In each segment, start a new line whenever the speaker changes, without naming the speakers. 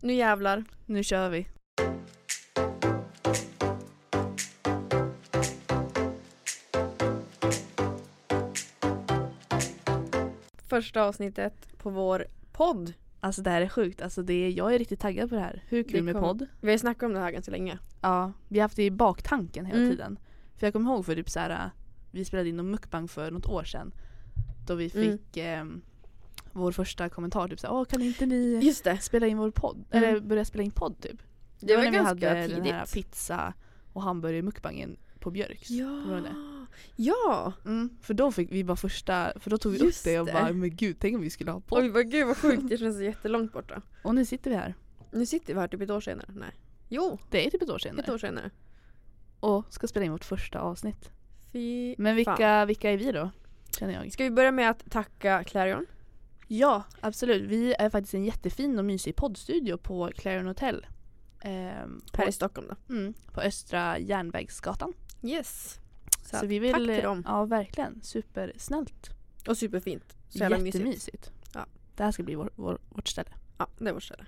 Nu jävlar, nu kör vi. Första avsnittet på vår podd.
Alltså det här är sjukt. Alltså det är, jag är riktigt taggad på det här. Hur
Det
kul med
kommer-
podd.
Vi har ju snackat om det här ganska länge.
Ja, vi har haft det i baktanken hela
Mm.
tiden. För jag kommer ihåg för typ så här, vi spelade in en mukbang för något år sedan. Då vi
Mm.
fick ehm, vår första kommentar typ så här, Åh, kan inte ni
Just det.
spela in vår podd?
Mm.
Eller börja spela in podd typ.
Det
Det
var
var när vi
ganska
hade den här
tidigt.
pizza och hamburgermukbangen på Björks. Kommer
Ja.
du ihåg det?
Ja.
Mm, för då fick vi bara första, för då tog vi
Just
upp det och
det.
bara men gud tänk om vi skulle ha podd.
Oj vad gud vad sjukt, det känns så jättelångt borta.
Och nu sitter vi här.
Nu sitter vi här typ ett år senare. Nej. Jo,
Det är typ ett år senare.
ett år senare.
Och ska spela in vårt första avsnitt.
Fy
Men
fan.
vilka, vilka är vi då? Känner jag.
Ska vi börja med att tacka Clarion?
Ja, absolut. Vi är faktiskt en jättefin och mysig poddstudio på Clarion Hotel. Ehm, på,
Här i Stockholm då.
mm, på Östra Järnvägsgatan.
Yes.
Så,
Så
vi vill, eh,
tack till dem.
Ja, verkligen. Supersnällt.
Och superfint. Så jävla mysigt.
Jättemysigt.
Ja.
Det här ska bli vår, vår, vårt ställe.
Ja, det är vårt ställe.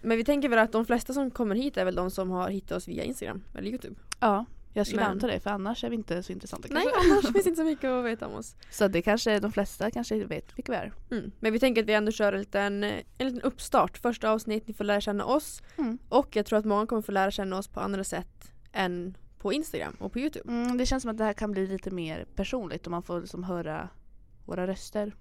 Men vi tänker väl att de flesta som kommer hit är väl de som har hittat oss via Instagram eller Youtube.
Ja, jag skulle
Men-
anta det för annars är vi inte så intressanta
Nej,
kanske.
annars finns det inte så mycket att veta om oss.
Så det kanske, de flesta kanske vet vilka vi är.
Mm. Men vi tänker att vi ändå kör en liten, en liten uppstart. Första avsnitt, ni får lära känna oss.
Mm.
Och jag tror att många kommer få lära känna oss på andra sätt än på Instagram och på Youtube.
Mm, det känns som att det här kan bli lite mer personligt och man får liksom höra våra röster.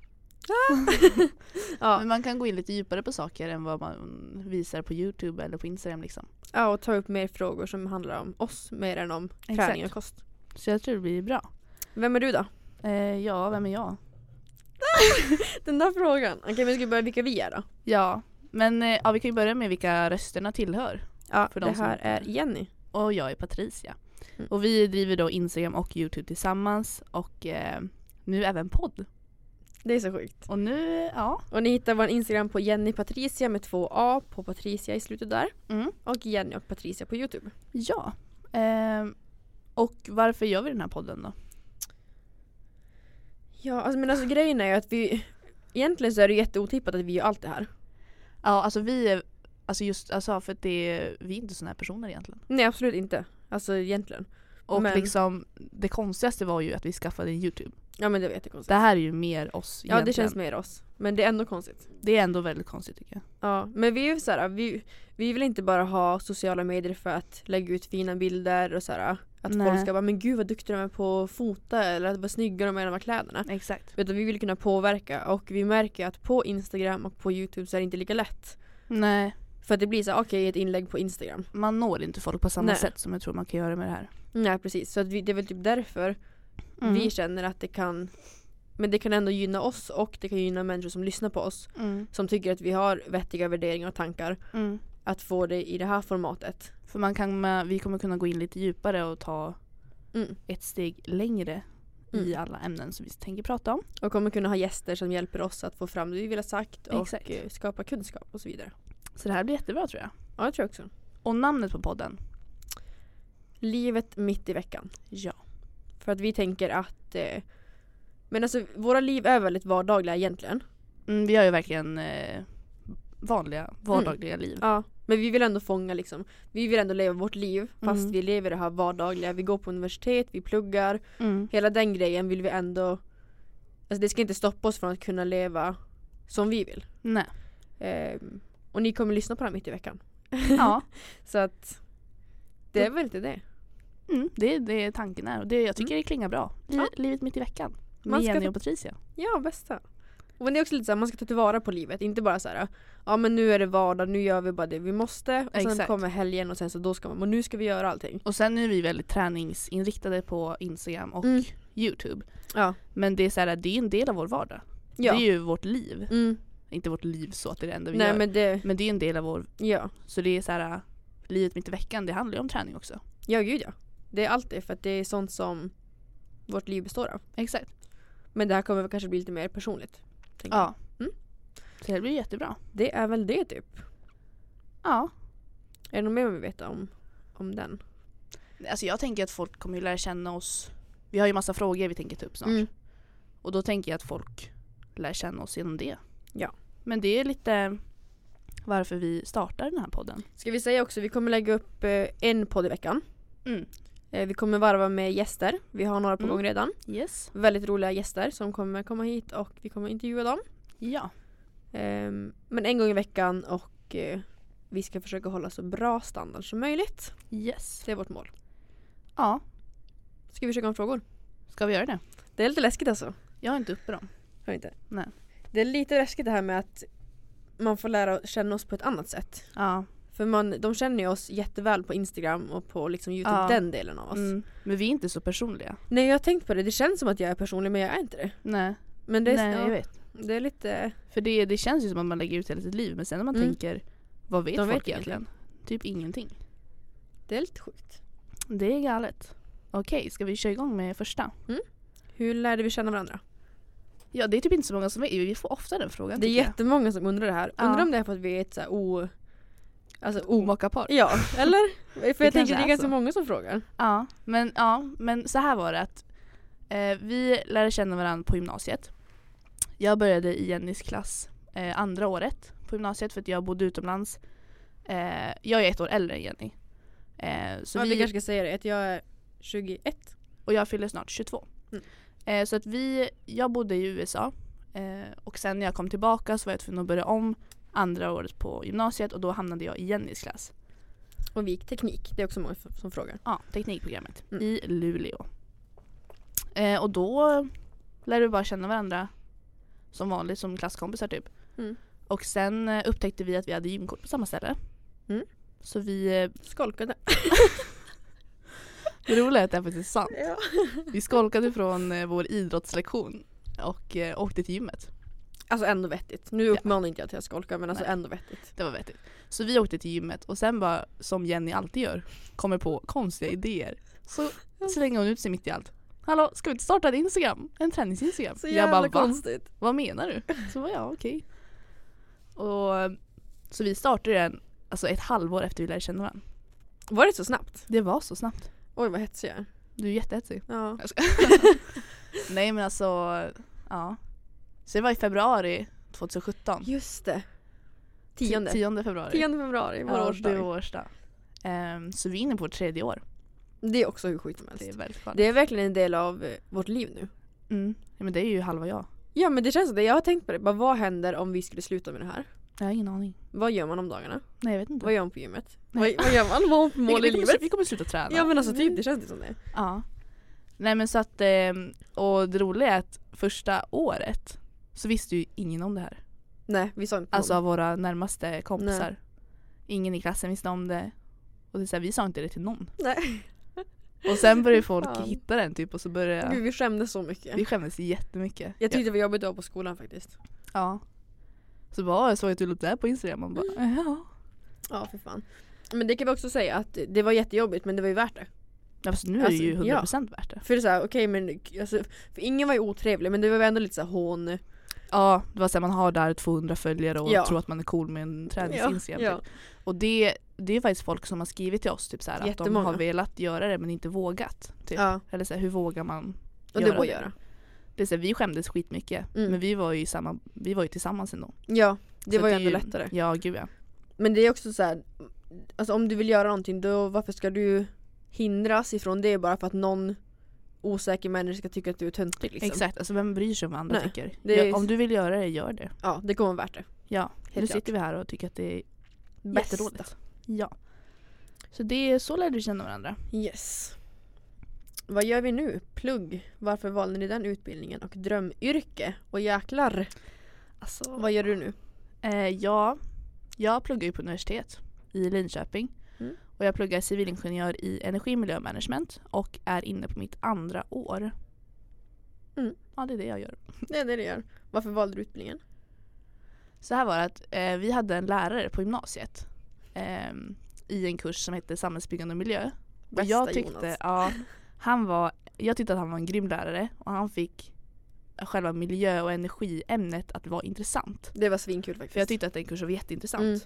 Ja,
Men man kan gå in lite djupare på saker än vad man visar på Youtube eller på Instagram liksom.
ja och ta upp mer frågor som handlar om oss mer än om träning och kost.
Så jag tror det blir bra.
Vem är du då?
Eh, ja, vem är jag?
Den där frågan. Okej, men vi ska börja vilka vi är då.
Ja, men eh, ja, vi kan ju börja med vilka rösterna tillhör.
Ja,
För de
det
som
här
inte-
är Jenny.
Och jag är Patricia.
Mm.
Och vi driver då Instagram och Youtube tillsammans och eh, nu även podd.
Det är så sjukt.
Och nu, ja.
Och ni hittar vår Instagram på Jenny Patricia med två A på Patricia i slutet där.
Mm.
Och Jenny och Patricia på Youtube.
Ja. Ehm, och varför gör vi den här podden då?
Ja, alltså, men alltså grejen är ju att vi... Egentligen så är det jätteotippat att vi gör allt det här.
Ja, alltså vi är, alltså just, alltså för att det är, vi är inte sådana här personer egentligen.
Nej, absolut inte. Alltså egentligen.
Och
Men-
liksom, det konstigaste var ju att vi skaffade en Youtube.
Ja, men det var jättekonstigt.
Det här är ju mer oss
Ja, det
egentligen.
känns mer oss. Men det är ändå konstigt.
det är ändå väldigt konstigt tycker jag.
Ja, men vi är ju så här, vi, vi vill inte bara ha sociala medier för att lägga ut fina bilder och så här, att folk
Nej.
ska bara “men gud vad duktiga de är på att fota” eller att “vad snygga de är i de här kläderna”.
Exakt.
Utan vi vill kunna påverka och vi märker ju att på Instagram och på Youtube så är det inte lika lätt.
Nej,
För att det blir så här, okej ett inlägg på Instagram.
man når inte folk på samma
Nej.
sätt som jag tror man kan göra med det här.
Nej precis, så att vi, det är väl typ därför
Mm.
vi känner att det kan men det kan ändå gynna oss och det kan gynna människor som lyssnar på oss
Mm.
som tycker att vi har vettiga värderingar och tankar
Mm.
att få det i det här formatet.
För man kan, med- vi kommer kunna gå in lite djupare och ta
Mm.
ett steg längre
Mm.
i alla ämnen som vi tänker prata om.
Och kommer kunna ha gäster som hjälper oss att få fram det vi vill ha sagt och
Exakt.
eh, skapa kunskap och så vidare.
Så det här blir jättebra tror jag.
Ja, det tror jag också.
Och namnet på podden?
Livet mitt i veckan.
Ja.
För att vi tänker att eh, men alltså våra liv är väldigt vardagliga egentligen.
Mm, vi har ju verkligen eh, vanliga,
Mm.
vardagliga liv.
Ja. Men vi vill ändå fånga liksom, vi vill ändå leva vårt liv fast
Mm.
vi lever det här vardagliga. Vi går på universitet, vi pluggar.
Mm.
Hela den grejen vill vi ändå, alltså det ska inte stoppa oss från att kunna leva som vi vill.
Nej.
Ehm, och ni kommer lyssna på det här mitt i veckan.
Ja,
Så att det är väl inte det.
mm, det är det tanken är och det, jag tycker det klingar bra. Li-
Mm. Ja.
Livet mitt i veckan med
Man ska
Jenny
ta-
och Patricia.
Ja, bästa. Men det är också lite så här, man ska ta tillvara på livet. Inte bara så här, ja men nu är det vardag, nu gör vi bara det vi måste. Och sen
Exakt.
kommer helgen och sen så då ska man, och nu ska vi göra allting.
Och sen är vi väldigt träningsinriktade på Instagram och
Mm.
Youtube.
Ja.
Men det är, så här, det är en del av vår vardag.
ja.
Det är ju vårt liv.
mm.
Inte vårt liv så att det är det enda vi
Nej
gör. Men...
men det,
det är en del av vår...
ja.
Så det är så här, livet mitt i veckan, det handlar ju om träning också.
Ja gud ja. Det är allt det för att det är sånt som vårt liv består av.
Exakt.
Men det här kommer väl kanske bli lite mer personligt. tänker jag.
Ja.
Mm.
Så det blir jättebra.
Det är väl det typ.
Ja.
Är det något mer vi vet om, om den?
Alltså jag tänker att folk kommer ju lära känna oss. Vi har ju massa frågor vi tänker ta upp snart.
Mm.
Och då tänker jag att folk lär känna oss genom det.
Ja.
Men det är lite varför vi startar den här podden.
Ska vi säga också, vi kommer lägga upp eh, en podd i veckan.
Mm.
Eh, Vi kommer varva med gäster. Vi har några på
Mm.
gång redan.
Yes.
Väldigt roliga gäster som kommer komma hit och vi kommer intervjua dem.
Ja.
Ehm, Men en gång i veckan och eh, vi ska försöka hålla så bra standard som möjligt.
Yes.
Det är vårt mål.
Ja,
Ska vi försöka om frågor?
ska vi göra det?
Det är lite läskigt alltså.
Jag har inte uppe dem.
Hör inte.
Nej.
Det är lite läskigt det här med att man får lära känna oss på ett annat sätt.
Ja.
För man, de känner ju oss jätteväl på Instagram och på liksom Youtube,
Ja.
den delen av oss.
Mm. Men vi är inte så personliga.
Nej jag har tänkt på det, det känns som att jag är personlig men jag är inte det.
Nej,
Men det är,
Nej jag
ja,
vet.
det är lite...
För det, det känns ju som att man lägger ut hela sitt liv men sen när man
Mm.
tänker vad vet
De
folk
vet
egentligen? Typ ingenting.
Det är lite sjukt.
Det är galet. Okej, ska vi köra igång med första?
Hur lärde vi känna varandra?
Ja, det är typ inte så många som vet. Vi får ofta den frågan
Det är
tycker jag.
jättemånga som undrar det här.
Ja.
Undrar om det är för att vi är ett så här o... Alltså o...
Omakapar.
Ja, eller? För jag
kanske
tänker det
är
är ganska
så.
många som frågar.
Ja, men, ja, men så här var det att eh, vi lärde känna varandra på gymnasiet. Jag började i Jennys klass eh, andra året på gymnasiet för att jag bodde utomlands. Eh, jag är ett år äldre än Jenny. Eh, så
ja, vi...
vi,
kanske ska säga det, att jag är 21.
Och jag fyller snart 22.
Mm.
Eh, så att vi, jag bodde i USA eh, och sen när jag kom tillbaka så var jag tvungen att börja om andra året på gymnasiet och då hamnade jag i Jennys klass.
Och vi gick teknik, det är också många f- som frågar.
Ja, teknikprogrammet
Mm.
i Luleå. Eh, och då lärde vi bara känna varandra som vanligt som klasskompisar typ.
Mm.
Och sen eh, upptäckte vi att vi hade gymkort på samma ställe.
Mm.
Så vi, eh,
Skolkade.
det roliga är att det här faktiskt är sant.
Ja.
Vi skolkade från eh, vår idrottslektion och eh, åkte till gymmet.
Alltså ändå vettigt. Nu uppmanar inte jag till att skolka men alltså
Nej.
ändå vettigt.
Det var vettigt. Så vi åkte till gymmet och sen bara, som Jenny alltid gör, kommer på konstiga idéer. Så slänger hon ut sig mitt i allt. Hallå, ska vi inte starta en Instagram? En träningsinstagram?
Så jävla
"Va?"
konstigt.
vad menar du? Så var jag okej. Och Så vi startade den alltså ett halvår efter vi lärde känna varandra.
Var det så snabbt?
Det var så snabbt.
Oj vad hetsig jag är.
Du är jättehetsig.
Ja.
Nej men alltså, ja. Så det var i februari 2017.
Just det. Tionde.
Tionde februari.
10 februari, vår
ja,
årsdag.
det är vår årsdag. Ehm, så vi är inne på vårt tredje år.
Det är också hur sjukt som helst.
Det är väldigt skönt.
Det är verkligen en del av eh, vårt liv nu.
Mm. Ja, men det är ju halva jag.
Ja men det känns som det. Jag har tänkt på det. Bara, vad händer om vi skulle sluta med det här?
Jag har ingen aning.
Vad gör man om dagarna?
Nej jag vet inte.
Vad gör man på gymmet? Vad, vad gör man? Vad har man för
Vi-
mål
vi
i
kommer
livet?
slu- Vi kommer sluta träna.
Ja men alltså typ, det känns inte som det.
Ja. Nej men så att, ehm, och det roliga är att första året så visste ju ingen om det här.
Nej vi sa inte någon.
Alltså av våra närmaste kompisar. Ingen i klassen visste om det. Och det är så här, vi sa inte det till någon.
Nej.
Och sen började folk
Fan.
hitta den typ och så började
Gud vi skämdes så mycket.
vi skämdes jättemycket.
Jag tyckte det var jobbigt att vara på skolan faktiskt.
Ja. Så bara, "Åh, jag såg att du la upp det här på Instagram. Man bara,
Mm.
ja.
Ja för fan. Men det kan vi också säga att det var jättejobbigt men det var ju värt det.
Ja, fast nu är det
Alltså,
ju
ja.
100% värt det.
För det är såhär okej men alltså, för ingen var ju otrevlig men det var ju ändå lite såhär hån.
Ja, det var så här, man har där 200 följare och
Ja.
tror att man är cool med en träningsinstagram.
Ja,
Typ. Och det, det är faktiskt folk som har skrivit till oss typ så här, att de
Jättemånga.
har velat göra det men inte vågat. Typ.
Ja.
Eller så här, hur vågar man?
Och
Göra
det går att
det.
göra.
Det är så här, vi skämdes skitmycket
Mm.
men vi var, ju i samma, vi var ju tillsammans ändå.
Ja det
Så
var ju
att
ändå lättare.
Ja gud ja.
Men det är också så här, alltså om du vill göra någonting då varför ska du hindras ifrån det bara för att någon osäker människa ska tycka att du är töntig liksom.
Exakt, alltså vem bryr sig om vad andra
Nej,
tycker?
det är-
Ja, om du vill göra det, gör det.
Ja det kommer vara värt det.
Ja,
Helt
nu
klart.
sitter vi här och tycker att det är
Bästa.
jätteroligt. Ja. Så det är så lärde vi känna varandra.
Yes. Vad gör vi nu? Plugg. Varför valde ni den utbildningen? Och drömyrke? Och jäklar,
Alltså,
vad gör du nu?
Eh, ja, jag pluggar ju på universitet i Linköping.
Mm.
Och jag pluggar civilingenjör i energi, miljö och management och är inne på mitt andra år.
Mm.
Ja, det är det jag gör.
Det är det du gör. Varför valde du utbildningen?
Så här var det att eh, vi hade en lärare på gymnasiet ehm, i en kurs som hette samhällsbyggande och miljö. Och jag tyckte, ja, han var, jag tyckte att han var en grym lärare och han fick själva miljö och energiämnet att vara intressant.
Det var svinkul faktiskt.
För jag tyckte att den kursen var jätteintressant.
Mm.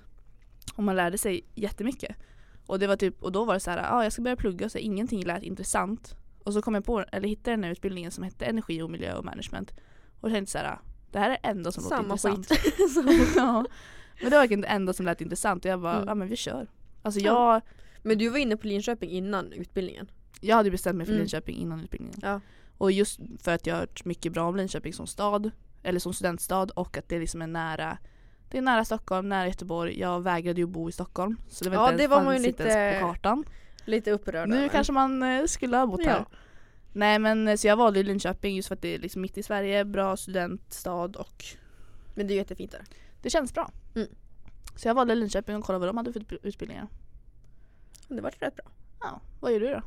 Och man lärde sig jättemycket. Och, det var typ, och då var det så här, ah, jag ska börja plugga, så här, ingenting lät intressant. Och så kom jag på, eller hittade den här utbildningen som hette energi och miljö och management. Och tänkte så här, ah, det här är det enda som låter
Samma
intressant.
skit.
ja. Men det var verkligen det enda som lät intressant och jag bara,
Mm.
ja men vi kör. Alltså
Ja.
jag,
Men du var inne på Linköping innan utbildningen.
jag hade ju bestämt mig för
Mm.
Linköping innan utbildningen.
Ja.
Och just för att jag har hört mycket bra om Linköping som stad, eller som studentstad och att det liksom är nära det är nära Stockholm, nära Göteborg. Jag vägrade ju bo i Stockholm. Så det var
Ja,
inte ens,
det var man ju
fanns inte
lite
ens på kartan.
Lite upprörd
Nu
över.
kanske man eh, skulle ha bott
Ja.
här. Nej men eh, så jag valde ju Linköping just för att det är liksom mitt i Sverige, bra studentstad och
Men det är ju jättefint där.
det känns bra.
Mm.
Så jag valde Linköping och kollade vad de hade för utb- utbildningar.
Det var rätt bra.
Ja, vad gör du då?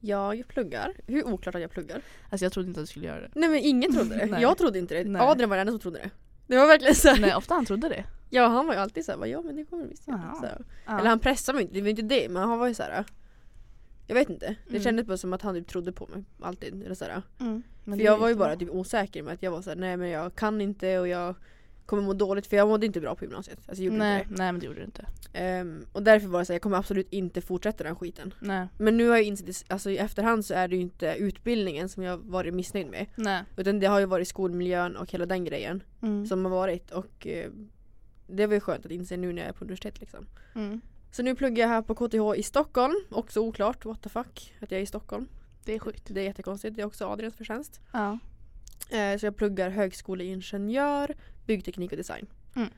Jag pluggar. Hur oklart att jag pluggar.
Alltså jag trodde inte att du skulle göra det.
Nej men ingen trodde det.
Nej.
jag trodde inte det.
Nej.
Adrian var den enda som trodde det. Det var verkligen så. här-
Nej, ofta han trodde det.
Ja han var ju alltid såhär, ja men det kommer du visst göra.
Ja.
Så här.
Ja.
Eller han pressade mig inte, det var inte det men han var ju såhär Jag vet inte, det
Mm.
kändes bara som att han typ trodde på mig alltid. Eller såhär.
Mm, men
För
det är
jag var ju
jättebra.
bara typ osäker med att jag var såhär, nej men jag kan inte och jag kommer må dåligt för jag mådde inte bra på gymnasiet. Alltså jag gjorde
nej,
inte det.
nej men det gjorde du inte.
Ehm, och därför var det såhär, jag kommer absolut inte fortsätta den skiten.
Nej.
Men nu har jag insett, i- alltså i efterhand så är det ju inte utbildningen som jag varit missnöjd med.
nej.
Utan det har ju varit skolmiljön och hela den grejen
Mm.
som har varit och eh, det var ju skönt att inse nu när jag är på universitet liksom.
Mm.
Så nu pluggar jag här på KTH i Stockholm, också oklart what the fuck att jag är i Stockholm.
Det är sjukt.
Det är jättekonstigt, det är också Adrians förtjänst.
Ja.
Eh, så jag pluggar högskoleingenjör, byggteknik och design.
Mm.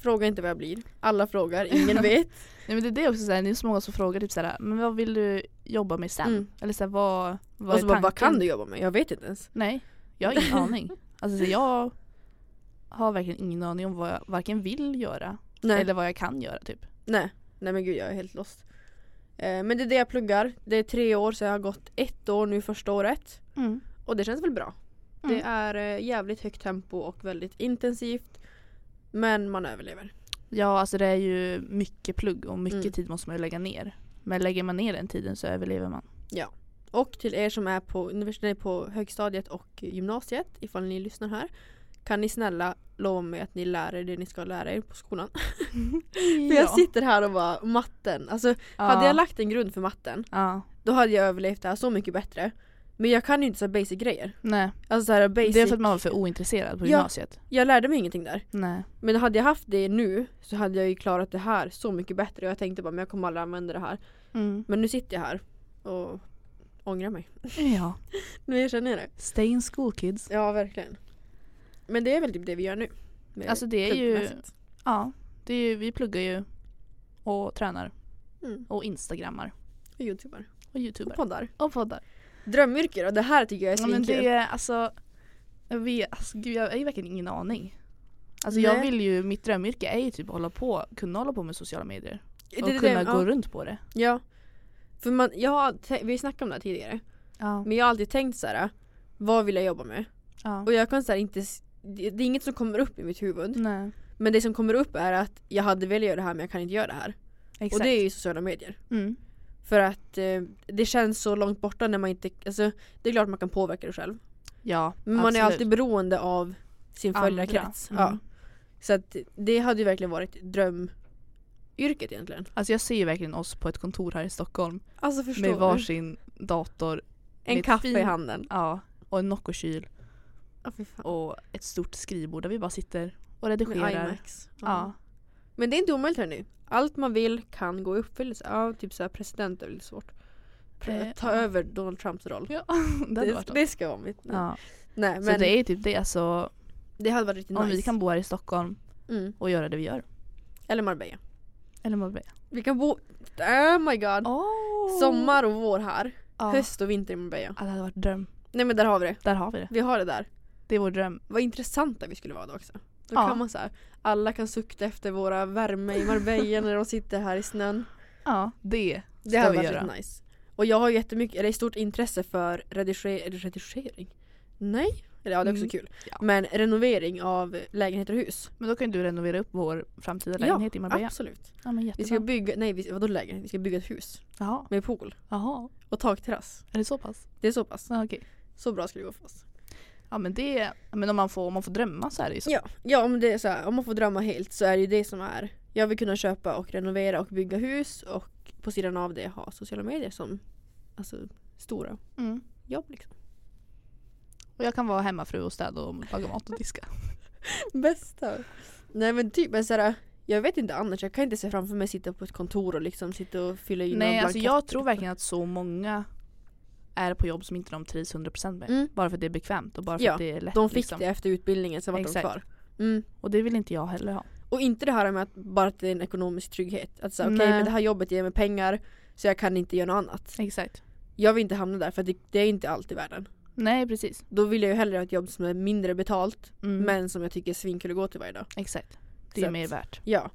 Fråga inte vad jag blir, alla frågar, ingen vet.
Nej men det är det också såhär, det är så många som frågar typ såhär, men vad vill du jobba med sen?
Mm.
Eller såhär vad, vad
och så
är
bara, vad
tanken?
kan du jobba med? Jag vet inte ens.
Nej, jag har ingen aning. Alltså så jag har verkligen ingen aning om vad jag varken vill göra
Nej,
eller vad jag kan göra typ.
nej. nej men gud jag är helt lost. Eh, men det är det jag pluggar, det är tre år så jag har gått ett år nu första året. Och det känns väl bra.
Mm.
Det är eh, jävligt högt tempo och väldigt intensivt. Men man överlever.
Ja alltså det är ju mycket plugg och mycket
Mm.
tid måste man ju lägga ner. Men lägger man ner den tiden så överlever man.
Och till er som är på, universitet, nej, på högstadiet och gymnasiet, ifall ni lyssnar här. Kan ni snälla lova mig att ni lär er det ni ska lära er på skolan? För jag sitter här och bara, matten. Alltså
Ja.
hade jag lagt en grund för matten,
Ja.
då hade jag överlevt det här så mycket bättre. Men jag kan ju inte så här basic grejer.
Nej.
Alltså så här basic,
Det är för att man var för ointresserad på
Ja.
gymnasiet.
jag lärde mig ingenting där.
Nej.
Men hade jag haft det nu så hade jag ju klarat det här så mycket bättre. Och jag tänkte bara, men jag kommer aldrig använda det här.
Mm.
Men nu sitter jag här och ångrar mig.
Ja.
Nu erkänner jag det.
Stay in school kids.
Ja, verkligen. Men det är väl typ det vi gör nu. Med
Alltså det är ju,
klubbmässigt.
ja. Det är ju, vi pluggar ju och tränar
Mm.
och instagrammar
Och Youtuber.
och youtuber.
Och poddar.
Och poddar.
Drömyrke då? Det här tycker jag är
Ja, men
svinkul.
det är alltså, jag vet, alltså gud, jag har ju verkligen ingen aning. Alltså jag
Nej.
vill ju, mitt drömyrke är ju typ att hålla på, kunna hålla på med sociala medier.
Det-
Och
det- det-
kunna
ja.
gå runt på det.
Ja. För man, jag har, tä- vi snackade om det här tidigare.
Ja.
Men jag har alltid tänkt så här. vad vill jag jobba med?
ja.
Och jag kan så här inte, s- det det är inget som kommer upp i mitt huvud.
Nej.
Men det som kommer upp är att jag hade velat göra det här men jag kan inte göra det här.
Exakt.
Och det är ju sociala medier.
mm.
För att eh, det känns så långt borta när man inte, alltså det är klart man kan påverka det själv.
Ja,
Men man är
absolut.
alltid beroende av sin
Andra.
följarkrets.
Mm.
Ja. Så att det hade ju verkligen varit drömyrket egentligen.
Alltså jag ser ju verkligen oss på ett kontor här i Stockholm
Alltså
med varsin dator,
En
med
kaffe i
fin-
handen.
ja, och en Noccokyl
Ja, fy fan.
och ett stort skrivbord där vi bara sitter och
Med
redigerar.
IMAX.
Ja.
Men det är inte omöjligt nu. Allt man vill kan gå i uppfyllelse. Ja, typ såhär president är väl svårt. Pre-
Eh,
ta
ja.
över Donald Trumps roll.
ja. det hade
Det,
varit något.
det ska vara mitt.
Ja.
Nej men
Så det
det,
är ju typ det alltså,
hade varit riktigt
om
nice.
vi kan bo här i Stockholm
mm.
och göra det vi gör.
Eller Marbella.
Eller Marbella.
Vi kan bo... Oh my god.
Oh.
Sommar och vår här.
Ja.
Höst och vinter i Marbella.
Ja, det hade varit dröm.
Nej men där har vi det.
Där har vi det.
Vi har det där.
Det är vår dröm.
Vad intressanta vi skulle vara då också. Då
Ja.
kan man så här, alla kan sukta efter våra värme i Marbella när de sitter här i snön.
Ja, det.
Det
Ska
hade
vi
varit
göra.
lite nice. Och jag har ju jättemycket, eller stort intresse för rediger, redigering. Nej? Eller ja det är också
Mm.
kul.
Ja.
Men renovering av lägenheter och hus.
Men då kan ju du renovera upp vår framtida
Ja,
lägenhet i Marbella.
Absolut.
Ja, men
Vi ska
jättebra.
bygga, nej vi- vadå lägenhet? Vi ska bygga ett hus
Jaha.
med pool
Jaha.
och takterrass.
Är det så pass?
Det är så pass.
Ja, okej.
Så bra ska det gå för oss.
Ja men det, men om man, får, om man får drömma så är det ju så.
Ja, ja om, det är så här, om man får drömma helt så är det ju det som är. Jag vill kunna köpa och renovera och bygga hus och på sidan av det ha sociala medier som alltså, stora
Mm.
jobb. Liksom.
Och jag kan vara hemmafru och städa och laga mat och diska.
Bästa! Nej men typ, men så här, Jag vet inte annars, jag kan inte se framför mig sitta på ett kontor och liksom sitta och fylla i typ.
Nej
några
alltså
blanketter.
jag tror verkligen att så många är på jobb som inte de trivs 100% med.
Mm.
Bara för att det är bekvämt och bara för
Ja,
att det är lätt.
De fick
liksom.
det efter utbildningen så vart de
Exakt.
kvar. Mm.
Och det vill inte jag heller ha.
Och inte det här med att bara att det är en ekonomisk trygghet. Att säga okej
Nej.
men det här jobbet ger mig pengar så jag kan inte göra något annat.
Exakt.
Jag vill inte hamna där för det, det är inte allt i världen.
Nej precis.
Då vill jag ju hellre ha ett jobb som är mindre betalt
Mm.
men som jag tycker är svinkul att gå till varje dag.
Exakt.
Så
Det är
att-
mer värt.
Ja.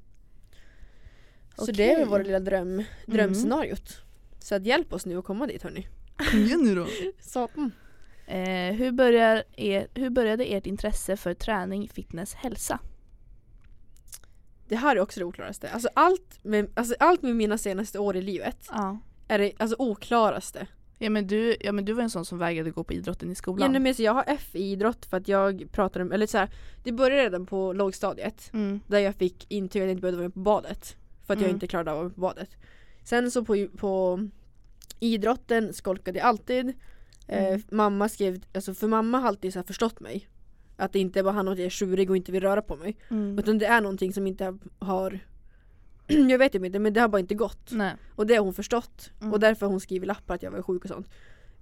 Så det är väl
Okej.
vårt lilla dröm, drömscenariot. Mm. Så att hjälp oss nu att komma dit hörni.
Kom igen nu då.
Så,
Mm. Eh, hur, börjar er, hur började ert intresse för träning, fitness, hälsa?
det här är också det oklaraste. Alltså allt med, alltså allt med mina senaste år i livet
Ja.
är det alltså oklaraste.
Ja men, du, ja men du var en sån som vägrade gå på idrotten i
Ja,
skolan.
nej, men så jag har F i idrott för att jag pratade om, eller så här, det började redan på lågstadiet
mm.
där jag fick intyg att jag inte behövde vara med på badet för att jag
Mm.
inte klarade av att vara med på badet. Sen så på, på idrotten skolkade jag alltid. Eh,
Mm.
mamma skrev, alltså för mamma har alltid så här förstått mig. Att det inte bara handlar om att jag är tjurig och inte vill röra på mig.
Mm.
Utan det är någonting som inte har jag vet inte, men det har bara inte gått.
Nej.
Och det har hon förstått.
Mm.
Och därför har hon skrivit lappar att jag var sjuk och sånt.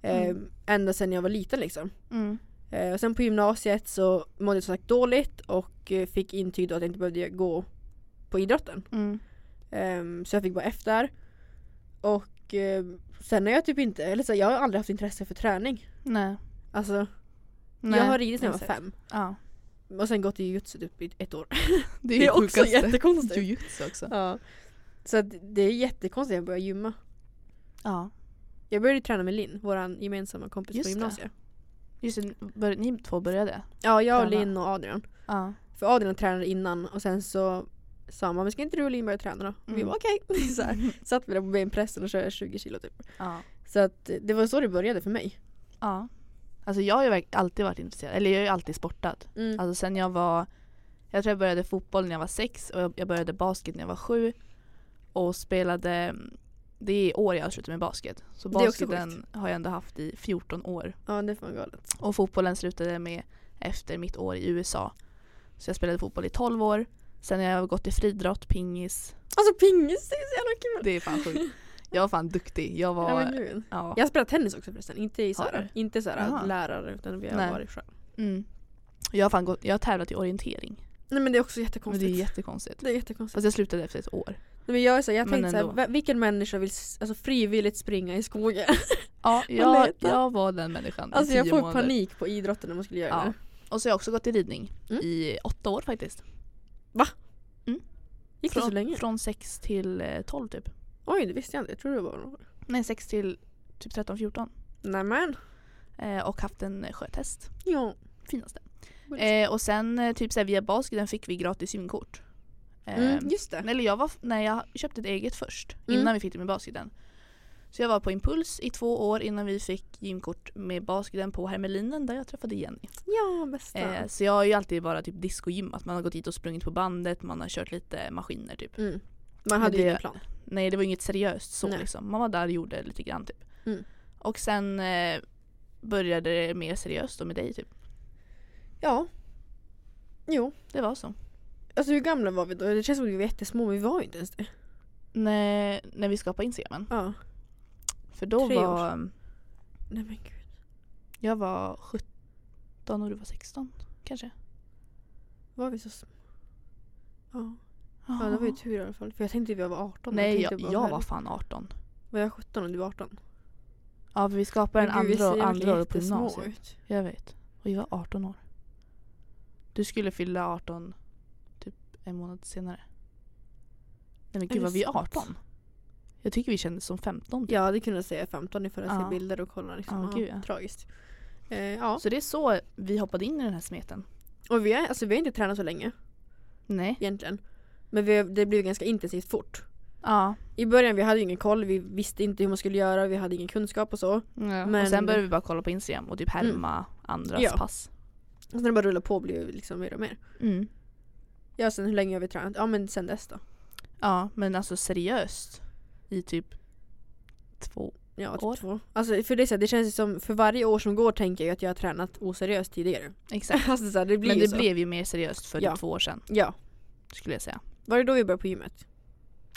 Eh,
Mm.
Ända sedan jag var liten liksom.
Mm.
Eh, och sen på gymnasiet så mådde jag som sagt dåligt och eh, fick intyg då att jag inte behövde gå på idrotten.
Mm.
Ehm, så jag fick bara F där. Och eh, sen har jag typ inte, eller så här, jag har aldrig haft intresse för träning.
Nej.
Alltså
Nej.
jag har ridit när jag var
exakt.
fem.
Ja.
Och sen gått i jujutsu typ i ett år.
Det
är också jättekonstigt.
Jujutsu också.
Ja. Så att det är jättekonstigt att jag började gymma.
Ja.
Jag började träna med Linn, vår gemensamma kompis
Just
på
det.
gymnasiet.
Just det, bör, ni två började.
Ja, jag och
Träna.
Linn och Adrian.
Ja.
För Adrian tränade innan och sen så sa man, men ska inte du och Linn börja träna då? Och vi
Mm.
var okej. Så här. Satt vi där på benpressen och körde 20 kilo typ.
ja.
Så att eh, det var så det började för mig.
ja. Alltså jag har ju verk- alltid varit intresserad, eller jag har ju alltid sportat.
Mm.
Alltså sen jag var, jag tror jag började fotboll när jag var sex och jag- jag började basket när jag var sju. Och spelade, det är i år jag har slutat med basket. Så
Det är också
basketen har jag ändå haft i 14 år.
Ja det är fan galet.
Och fotbollen slutade jag med efter mitt år i USA. Så jag spelade fotboll i 12 år. Sen har jag gått i friidrott, pingis.
Alltså pingis, det är så jävla kul!
Det är fan sjukt. Jag var fan duktig. Jag
Ja, men
var...
gud.
Ja.
Jag spelar tennis också förresten, inte i så
Har
här, inte så
Jaha.
här, lärare utan vi har
Nej.
varit själv.
Mm. Jag, har fan gått, jag har tävlat i orientering.
Nej men det är också
Men det är
jättekonstigt.
jättekonstigt.
det är jättekonstigt.
Fast jag slutade efter ett år.
Nej, men jag är så här, jag
Men
tänkte såhär,
ändå.
va- vilken människa vill s- alltså, frivilligt springa i skogen?
Ja,
Vad
jag,
lät det?
jag var den människan
alltså
i
jag
tio
får
månader.
panik på idrotten när man skulle göra
Ja.
det.
Och så har jag också gått i ridning
Mm.
i åtta år faktiskt.
Gick det
från,
så länge?
Från 6 till eh, 12 typ.
Oj det visste jag inte, jag trodde det var några år.
Nej 6 till typ 13-14.
Nämen.
Eh, och haft en eh, sjötest.
Ja.
Finaste.
Vad
Eh, och sen eh, typ så här, via basketen fick vi gratis gymkort. Eh,
Mm, just det.
Eller jag var, nej jag köpte ett eget först
Mm.
innan vi fick det med basketen. Så jag var på Impuls i två år innan vi fick gymkort med basketen på Hermelinen där jag träffade Jenny.
Ja bästa.
Eh, så jag har ju alltid bara typ discogym, att man har gått dit och sprungit på bandet, man har kört lite maskiner typ.
Mm. Man hade ju
det-
ingen plan.
Nej det var inget seriöst så
Nej.
liksom, man var där och gjorde lite grann typ.
Mm.
Och sen eh, började det mer seriöst då med dig typ.
Ja. Jo.
Det var så.
Alltså hur gamla var vi då? Det känns som att vi var jättesmå men vi var ju inte ens det.
När, när vi skapade Instagramen.
Ja.
För då
Tre år
var,
Nej men gud.
jag var 17 och du var 16 kanske.
Var vi så små? Ja. ja, det var ju
typ
tur i alla fall. För jag tänkte att jag var 18.
Nej,
jag,
jag,
tänkte
jag,
bara, "Herre,
var fan 18.
Var jag 17 och du var 18?
Ja, för vi skapade den
Men gud, vi
andra,
ser
andra
verkligen
året på
jättesmå
gymnasiet.
ut.
Jag vet. Och jag var 18 år. Du skulle fylla 18 typ en månad senare. Nej men
Är det
gud, var vi
sant?
18? Jag tycker vi kändes som typ. 15.
Ja, det kunde jag säga 15 ifall jag ser
Ja.
bilder och kollar. Liksom.
Ja,
Ja,
gud, ja.
Tragiskt. Eh, ja.
Så det är så vi hoppade in i den här smeten.
Och vi, är, alltså, vi har inte tränat så länge
Nej.
egentligen. Men vi, har- det blev ganska intensivt fort.
Ja.
I början vi hade ju ingen koll, vi visste inte hur man skulle göra, vi hade ingen kunskap och så. Och Men-
Och sen började vi bara kolla på Instagram och typ härma andras
Ja.
pass.
sen när det bara rullade på blev det liksom mer och mer.
Mm.
Ja, sen hur länge har vi tränat? Ja, men sen dess då.
Ja, men alltså seriöst i typ två
Ja, typ
År.
två. Alltså, för det, är så här, det känns ju som, för varje år som går tänker jag att jag har tränat oseriöst tidigare.
Exakt.
Alltså, så här, det blir
Men
ju
det
så.
blev ju mer seriöst för
Ja.
typ två år sedan
Ja,
skulle jag säga.
Var det då vi började på gymmet?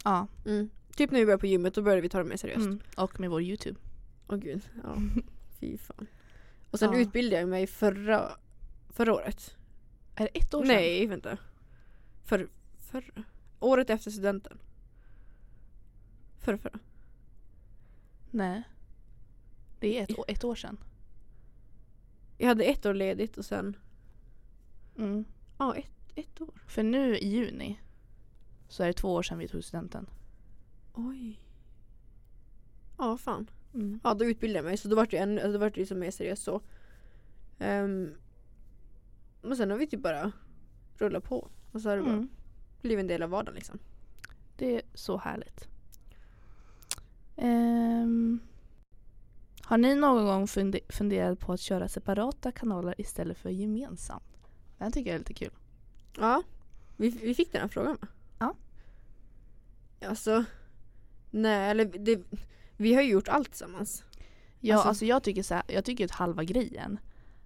Ja.
Mm. Typ när vi började på gymmet då började vi ta det mer seriöst.
Mm. Och med vår Youtube.
Åh gud, ja. Fy fan. Och sen
Ja.
utbildade jag mig förra, förra året.
Är det ett år sedan?
Nej, vänta. För, förra? Året efter studenten. Förra, förra.
Nej. Det är ett, å- ett år sedan.
Jag hade ett år ledigt och sen,
Mm.
ja ett, ett år.
För nu i juni så är det två år sedan vi tog studenten.
Oj. Ja, fan. Ja, då utbildade jag mig så då vart det ju ännu, alltså, då vart det ju som mer seriöst så. Um, och sen har vi typ bara rullat på. Och så har det bara
Mm.
blivit en del av vardagen liksom.
Det är så härligt. Ehm, har ni någon gång funde- funderat på att köra separata kanaler istället för gemensamt? Det här tycker jag är lite kul.
Ja, vi, vi fick den här frågan va?
Ja.
Alltså, nej eller det, vi har ju gjort allt tillsammans.
Ja,
Alltså-
alltså, jag, tycker så här, jag tycker att halva grejen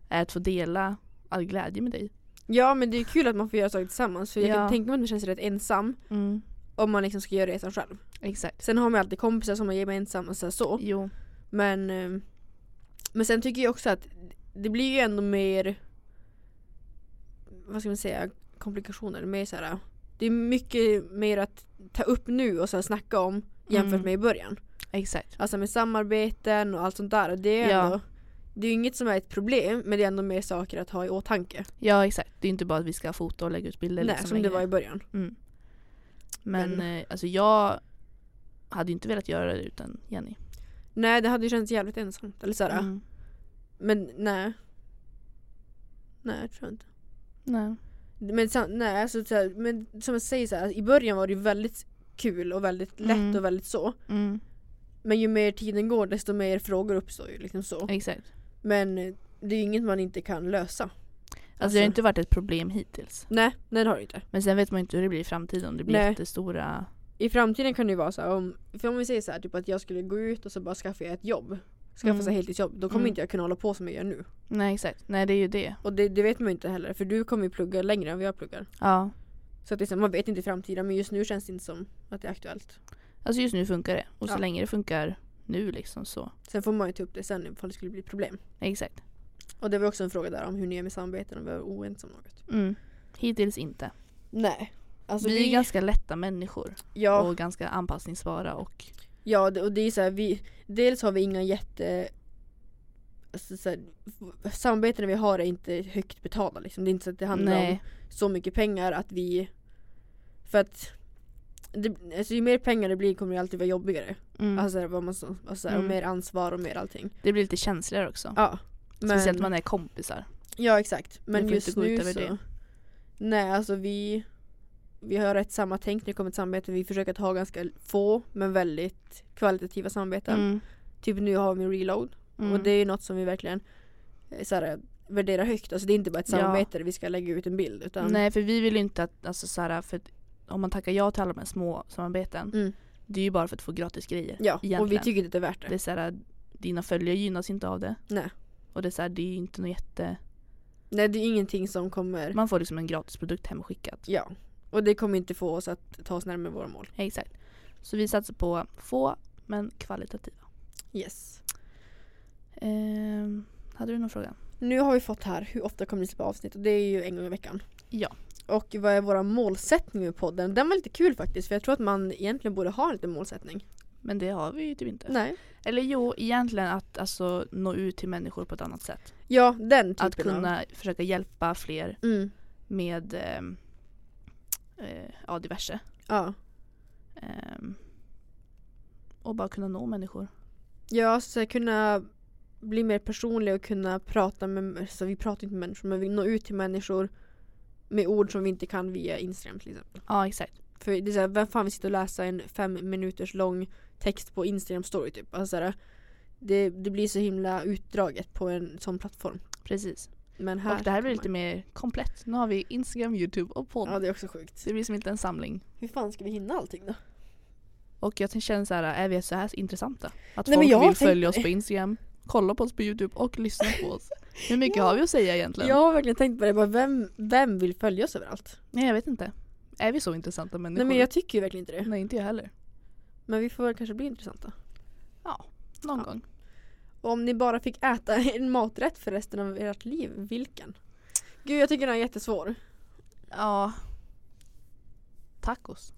är att få dela all glädje med dig.
Ja men det är kul att man får göra saker tillsammans för jag
Ja.
kan tänka mig att man känns rätt ensam
Mm.
om man liksom ska göra resan själv.
Exakt.
Sen har man alltid kompisar som man ger med ensam och så, här så.
Jo.
Men, eh, men sen tycker jag också att det blir ju ändå mer, vad ska man säga, komplikationer. Mer så här, det är mycket mer att ta upp nu och så här snacka om jämfört
Mm.
med i början.
Exakt.
Alltså med samarbeten och allt sånt där. Och Det är,
Ja.
ändå, det är ju inget som är ett problem men det är ändå mer saker att ha i åtanke.
Ja, exakt. Det är inte bara att vi ska fota och lägga ut bilder.
Nej,
liksom
som det
längre.
var i början.
Mm. Men
Men-
eh, alltså jag hade ju inte velat göra det utan Jenny.
Nej det hade ju känts jävligt ensamt. Eller såhär,
Mm.
Men nej. Nej jag tror inte.
Nej.
Men, sam- nej, alltså, såhär, men som jag säger, såhär, i början var det ju väldigt kul och väldigt lätt
Mm.
och väldigt så.
Mm.
Men ju mer tiden går desto mer frågor uppstår ju. Liksom så.
Exakt.
Men eh, det är ju inget man inte kan lösa.
Alltså det har inte varit ett problem hittills.
Nej, nej det har det inte.
Men sen vet man ju inte hur det blir i framtiden om det blir
Nej.
jättestora...
I framtiden kan det ju vara så här, om, för om vi säger så här, typ att jag skulle gå ut och så bara skaffa ett jobb. Skaffa
Mm.
sig heltidsjobb. Då kommer
Mm.
inte jag kunna hålla på som jag gör nu.
Nej exakt, nej det är ju det.
Och det, det vet man ju inte heller för du kommer ju plugga längre än vad jag pluggar.
Ja.
Så att liksom, man vet inte i framtiden men just nu känns det inte som att det är aktuellt.
Alltså just nu funkar det. Och så
Ja.
länge det funkar nu liksom så.
Sen får man ju ta upp det sen ifall det skulle bli problem.
Exakt.
Och det var också en fråga där om hur ni är med samarbeten om vi är oense om något.
Mm. Hittills inte.
Nej. Alltså
vi är ganska lätta människor
ja,
och ganska anpassningsbara och...
Ja, det- och det är så här, vi, dels har vi inga jätte... Alltså så här, f- samarbetena vi har är inte högt betalda liksom. Det är inte så att det handlar om
Nej.
så mycket pengar att vi... För att... Det, alltså ju mer pengar det blir kommer det alltid vara jobbigare.
Mm.
Alltså, vad man, så- alltså, så här, och
Mm.
mer ansvar och mer allting.
det blir lite känsligare också.
Ja.
Speciellt man är kompisar.
Ja exakt. Men
får inte
just
gå ut
nu
över
så...
det.
Nej alltså vi... Vi har rätt samma tänk när det kommer till samarbete. Vi försöker att ha ganska få men väldigt kvalitativa samarbeten.
Mm.
Typ nu har vi reload. Och det är ju något som vi verkligen eh, så här, värderar högt. Alltså det är inte bara ett
Ja.
samarbete där vi ska lägga ut en bild. Utan,
Nej för vi vill ju inte att, alltså så här, för att om man tackar ja till alla de här små samarbeten,
Mm.
det är ju bara för att få gratis grejer.
ja, och vi
egentligen.
tycker inte det är värt det.
Det är så här, dina följare gynnas inte av det.
Nej.
Och det är så här, det är ju inte något jätte...
Nej det är ingenting som kommer,
Man får liksom en gratisprodukt hemskickad.
ja. Och det kommer inte få oss att ta oss närmare våra mål.
Exakt. Så vi satsar på få men kvalitativa.
Yes.
Ehm, hade du någon fråga?
Nu har vi fått här, hur ofta kommer ni släppa avsnitt? Och det är ju en gång i veckan.
Ja.
Och vad är våra målsättningar med podden? Den var lite kul faktiskt för jag tror att man egentligen borde ha en liten målsättning.
Men det har vi ju typ inte.
Nej.
Eller jo, egentligen att alltså, nå ut till människor på ett annat sätt.
Ja, den typen
att kunna försöka hjälpa fler
av. Mm.
med ehm, eh, ja, diverse.
Ja.
Ehm, och bara kunna nå människor.
Ja, så att kunna bli mer personlig och kunna prata med, så vi pratar inte med människor men vi når ut till människor med ord som vi inte kan via Instagram till exempel.
Ja, exakt.
För det är såhär, vem fan vill sitta och läsa en fem minuters lång text på Instagram story typ. Alltså, såhär, det, det blir så himla utdraget på en sån plattform.
Precis.
Men här
och det här
kan
blir lite
man-
mer komplett. Nu har vi Instagram, Youtube och podd.
Ja det är också sjukt.
Så det blir som inte en samling.
Hur fan ska vi hinna allting då?
Och jag känner så här, är vi så här intressanta? Att
Nej, men
folk
jag har
vill
tänkt
följa
på
oss på Instagram, kolla på oss på Youtube och lyssna på oss. Hur mycket har vi att säga egentligen?
Jag har verkligen tänkt på det, bara, vem, vem vill följa oss överallt?
Nej jag vet inte. Är vi så intressanta människor?
Nej men jag tycker ju verkligen inte det.
Nej, inte jag heller.
Men vi får väl kanske bli intressanta.
Någon
Ja.
gång.
Och om ni bara fick äta en maträtt för resten av ert liv, vilken? Gud jag tycker den är jättesvår.
Ja. Tacos?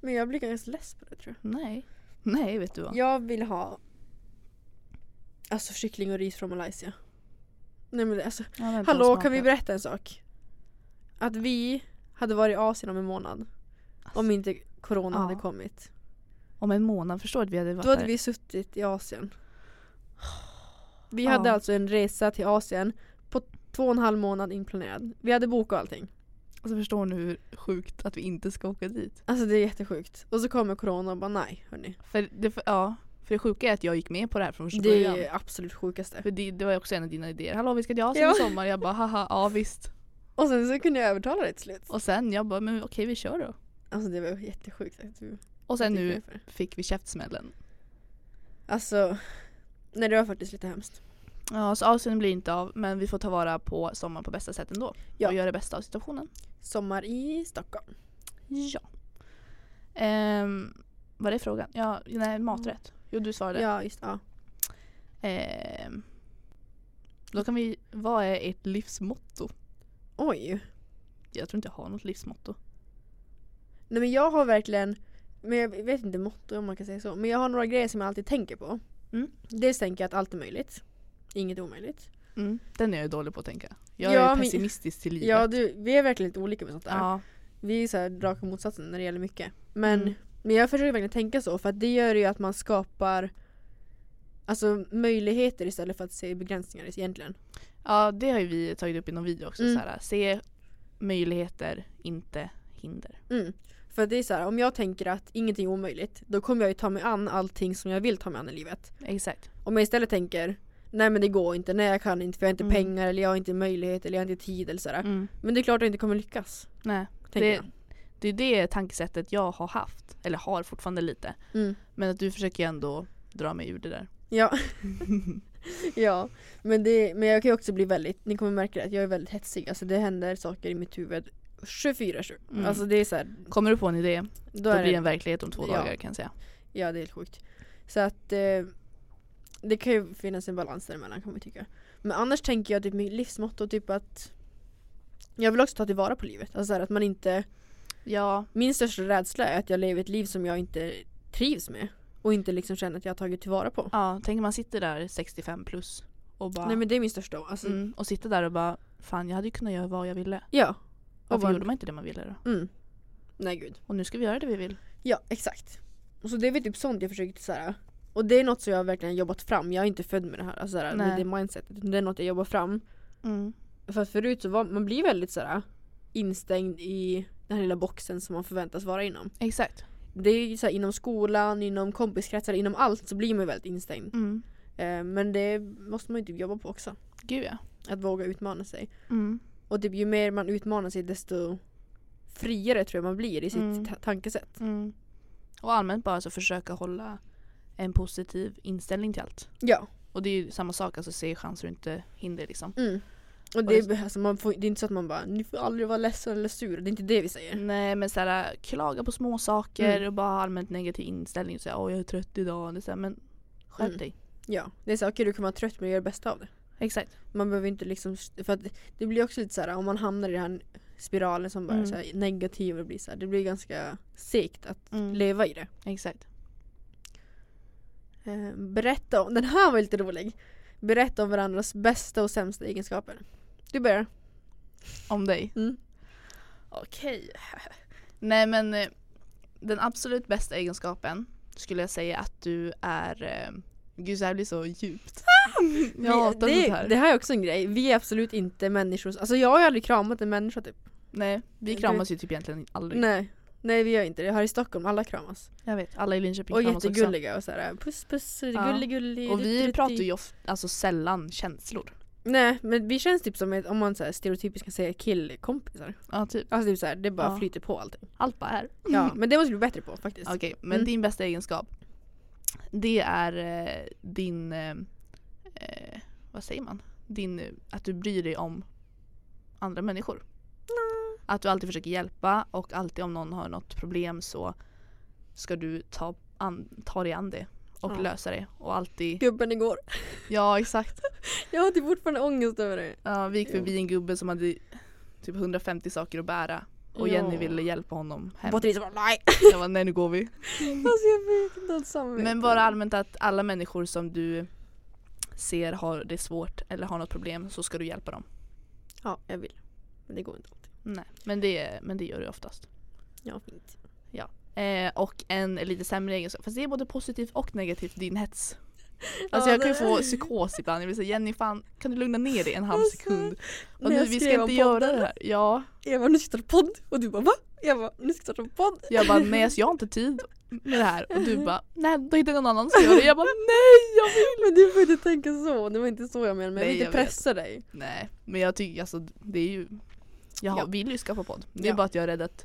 Men jag blir ganska less på det tror
Nej. Nej, vet du
jag.
vad.
Jag vill ha Alltså kyckling och ris från Malaysia. Nej men det- alltså,
Jag har inte
hallå
smakat.
kan vi berätta en sak? Att vi hade varit i Asien om en månad. Om inte corona
Ja.
hade kommit.
Om en månad, förstår du att vi hade varit
Då hade
där.
vi suttit i Asien. Vi
Ja.
hade alltså en resa till Asien på två och en halv månad inplanerad. Vi hade bok och allting.
Alltså förstår ni hur sjukt att vi inte ska åka dit?
Alltså det är jättesjukt. Och så kommer corona och bara nej hörni.
För det, ja, för det sjuka är att jag gick med på det här från första
Det
början.
är ju absolut sjukaste.
För det, det var ju också en av dina idéer. Hallå vi ska till Asien
Ja.
i sommar. Jag bara haha, ja visst.
Och sen så kunde jag övertala det till slut.
Och sen jag bara men okej vi kör då.
Alltså det var jättesjukt. att du-
Och sen
att du gick
nu
med för det.
fick vi käftsmällen.
Alltså, nej det var faktiskt lite hemskt.
Ja så Asien blir inte av men vi får ta vara på sommaren på bästa sätt ändå.
Ja.
Och göra det bästa av situationen.
Sommar i Stockholm.
Ja. Ehm, vad är frågan? Ja, nej maträtt. Mm. Jo du svarade.
Ja just ja.
Ehm, då kan vi, vad är ert livsmotto?
Oj.
Jag tror inte jag har något livsmotto.
Nej men jag har verkligen, men jag vet inte motto om man kan säga så. Men jag har några grejer som jag alltid tänker på.
Mm.
Dels tänker jag att allt är möjligt. Inget är omöjligt.
Mm. Den är jag dålig på att tänka. Jag
Ja,
är
men-
pessimistisk till livet.
Ja du, vi är verkligen lite olika med sånt där.
ja.
Vi är så här raka motsatsen när det gäller mycket. Men,
Mm.
men jag försöker verkligen tänka så för att det gör ju att man skapar alltså, möjligheter istället för att se begränsningar egentligen.
ja, det har ju vi tagit upp i någon video också.
Mm.
Så här, se möjligheter, inte hinder.
Mm. För att det är så här, om jag tänker att ingenting är omöjligt då kommer jag ju ta mig an allting som jag vill ta mig an i livet.
Exakt.
Om jag istället tänker nej men det går inte, nej jag kan inte för jag har inte
Mm.
pengar eller jag har inte möjlighet eller jag har inte tid eller sådär.
Mm.
Men det är klart att jag inte kommer lyckas.
Nej,
Tänker
det, det är det tankesättet jag har haft. Eller har fortfarande lite.
jag. Mm.
Men att du försöker ju ändå dra mig ur det där.
Ja. ja. Men, det, men jag kan ju också bli väldigt, ni kommer märka det, att jag är väldigt hetsig. Alltså det händer saker i mitt huvud 24-7.
Mm.
Alltså det är så här,
Kommer du på en idé,
då,
då
är
blir det
det,
en verklighet om två
Ja.
dagar kan jag säga.
ja det är helt sjukt. Så att eh, det kan ju finnas en balans däremellan kan man tycka. Men annars tänker jag typ mitt livsmotto typ att jag vill också ta tillvara på livet. Alltså så här, att man inte,
Ja,
min största rädsla är att jag lever ett liv som jag inte trivs med. Och inte liksom känner att jag har tagit tillvara på.
ja tänk om man sitter där 65 plus och bara
Nej men det är min största. Alltså,
mm, och sitter där och bara fan jag hade ju kunnat göra vad jag ville.
Ja.
Varför
bara-
gjorde man inte det man ville då?
Mm. Nej gud.
Och nu ska vi göra det vi vill.
Ja, exakt. Och så det är väl typ sånt jag försöker så här. Och det är något som jag verkligen har jobbat fram. Jag är inte född med det här, alltså såhär, med
Nej.
det mindsetet. utan Det är något jag jobbar fram.
Mm.
För att förut så var man blir väldigt såhär instängd i den här lilla boxen som man förväntas vara inom.
Exakt.
Det är ju såhär inom skolan, inom kompiskretsar, inom allt så blir man väldigt instängd.
Mm.
Eh, men det måste man ju typ jobba på också.
Gud ja.
Att våga utmana sig.
Mm,
Och typ ju mer man utmanar sig desto friare tror jag man blir i sitt
Mm.
ta- tankesätt.
Och allmänt bara så försöka hålla en positiv inställning till allt.
Ja.
Och det är ju samma sak, alltså se chanser och inte hinder liksom.
Mm. Och det, är- alltså man får, det är inte så att man bara ni får aldrig vara ledsen eller sur, det är inte det vi säger.
Nej men såhär klaga på små saker
Mm.
och bara ha allmänt negativ inställning. Såhär åh jag är trött idag. Det är så här, men skärp
Mm.
dig.
Ja, det är så här, okej du kan vara trött men gör det bästa av det.
Exakt.
Man behöver inte liksom, för att det blir också lite så här om man hamnar i den här spiralen som bara är
Mm.
så här, negativ och blir så här, det blir ganska segt att
Mm.
leva i det.
Exakt.
Eh, berätta om, den här var lite rolig. Berätta om varandras bästa och sämsta egenskaper. Du börjar.
Om dig.
Mm.
Okej. Nej men eh, den absolut bästa egenskapen skulle jag säga att du är... eh, Gud så här blir så djupt.
Vi-
jag hatar
det,
sånt här.
det här är också en grej, vi är absolut inte människor, alltså jag har ju aldrig kramat en människa typ.
Nej, vi
Du-
kramas ju typ egentligen aldrig.
Nej, nej vi gör inte det. Här i Stockholm, alla kramas.
Jag vet, alla i Linköping
Och
kramas
jättegulliga och såhär puss puss
Ja.
gullig gullig.
också. Och
rutt,
vi
rutt,
pratar
rutt.
ju of- alltså sällan känslor.
Nej men vi känns typ som ett, om man så här stereotypiskt kan säga killkompisar.
Ja, typ.
Alltså typ såhär det bara
Ja.
flyter på allting.
Allt bara är.
Ja men det måste vi bli bättre på faktiskt.
Okej, men
Mm.
din bästa egenskap. Det är eh, din... Eh, eh, vad säger man? Din, eh, att du bryr dig om andra människor. Att du alltid försöker hjälpa och alltid om någon har något problem så ska du ta, an, ta dig an det och
Ja.
lösa det. Och alltid...
Gubben igår.
Ja exakt.
Jag har typ fortfarande ångest över det.
Ja, vi gick
Jo.
förbi en gubbe som hade typ 150 saker att bära. Och Jenny
Ja.
ville hjälpa honom hem.
Patricia bara nej.
Jag bara, nej nu går vi.
Alltså jag fick dåligt samvete.
Men bara allmänt att alla människor som du ser har det svårt eller har något problem så ska du hjälpa dem.
Ja, jag vill. Men det går inte alltid.
Nej. Men, det, men det gör du oftast.
Ja, fint.
Eh, och en lite sämre egenskap, fast det är både positivt och negativt din hets. Alltså
Ja,
jag kan ju
det-
få psykos ibland, jag vill säga Jenny fan kan du lugna ner dig en halv
Alltså,
sekund? Och
när
nu,
jag
vi ska
skrev om
inte göra
podden.
det här. Ja,
Eva nu ska jag starta podd och du bara va? Jag bara nu ska jag starta podd.
jag bara nej alltså, jag har inte tid med det här. Och du bara nej då hittar jag någon annan som gör det. Jag bara nej jag vill
Men du får inte tänka så. Det var inte så jag menade. Men jag
Nej,
vill
jag
inte
vet.
pressa dig.
Nej, men jag tycker alltså det är ju Jag
Ja.
vill ju skaffa podd. Det är
Ja.
bara att jag är rädd att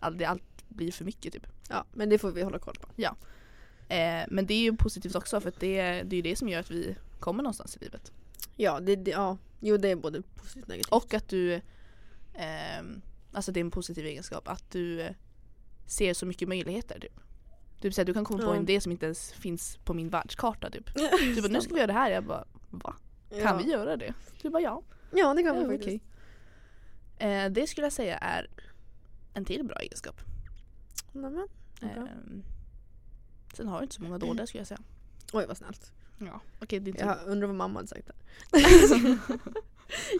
all, det allt blir för mycket typ.
Ja, men det får vi hålla koll på.
Eh, men det är ju positivt också för att det, det är ju det som gör att vi kommer någonstans i livet.
Ja, det, det, ja. Jo, det är både positivt och negativt.
Och att du ehm, Alltså det är en positiv egenskap att du eh, ser så mycket möjligheter typ. Typ såhär, du kan komma på
Ja.
en idé som inte ens finns på min världskarta typ. Du bara, nu ska vi göra det här. Jag bara, va? Kan
ja.
vi göra det? Du bara, ja.
Ja, det kan
Ja,
vi faktiskt.
okej. Eh, det skulle jag säga är en till bra egenskap.
Nej, men. Vad bra.
Ehm, sen har jag inte så många dåliga skulle jag säga.
Oj, vad snällt.
Ja. Okej, din tur.
Jag undrar vad mamma hade sagt där.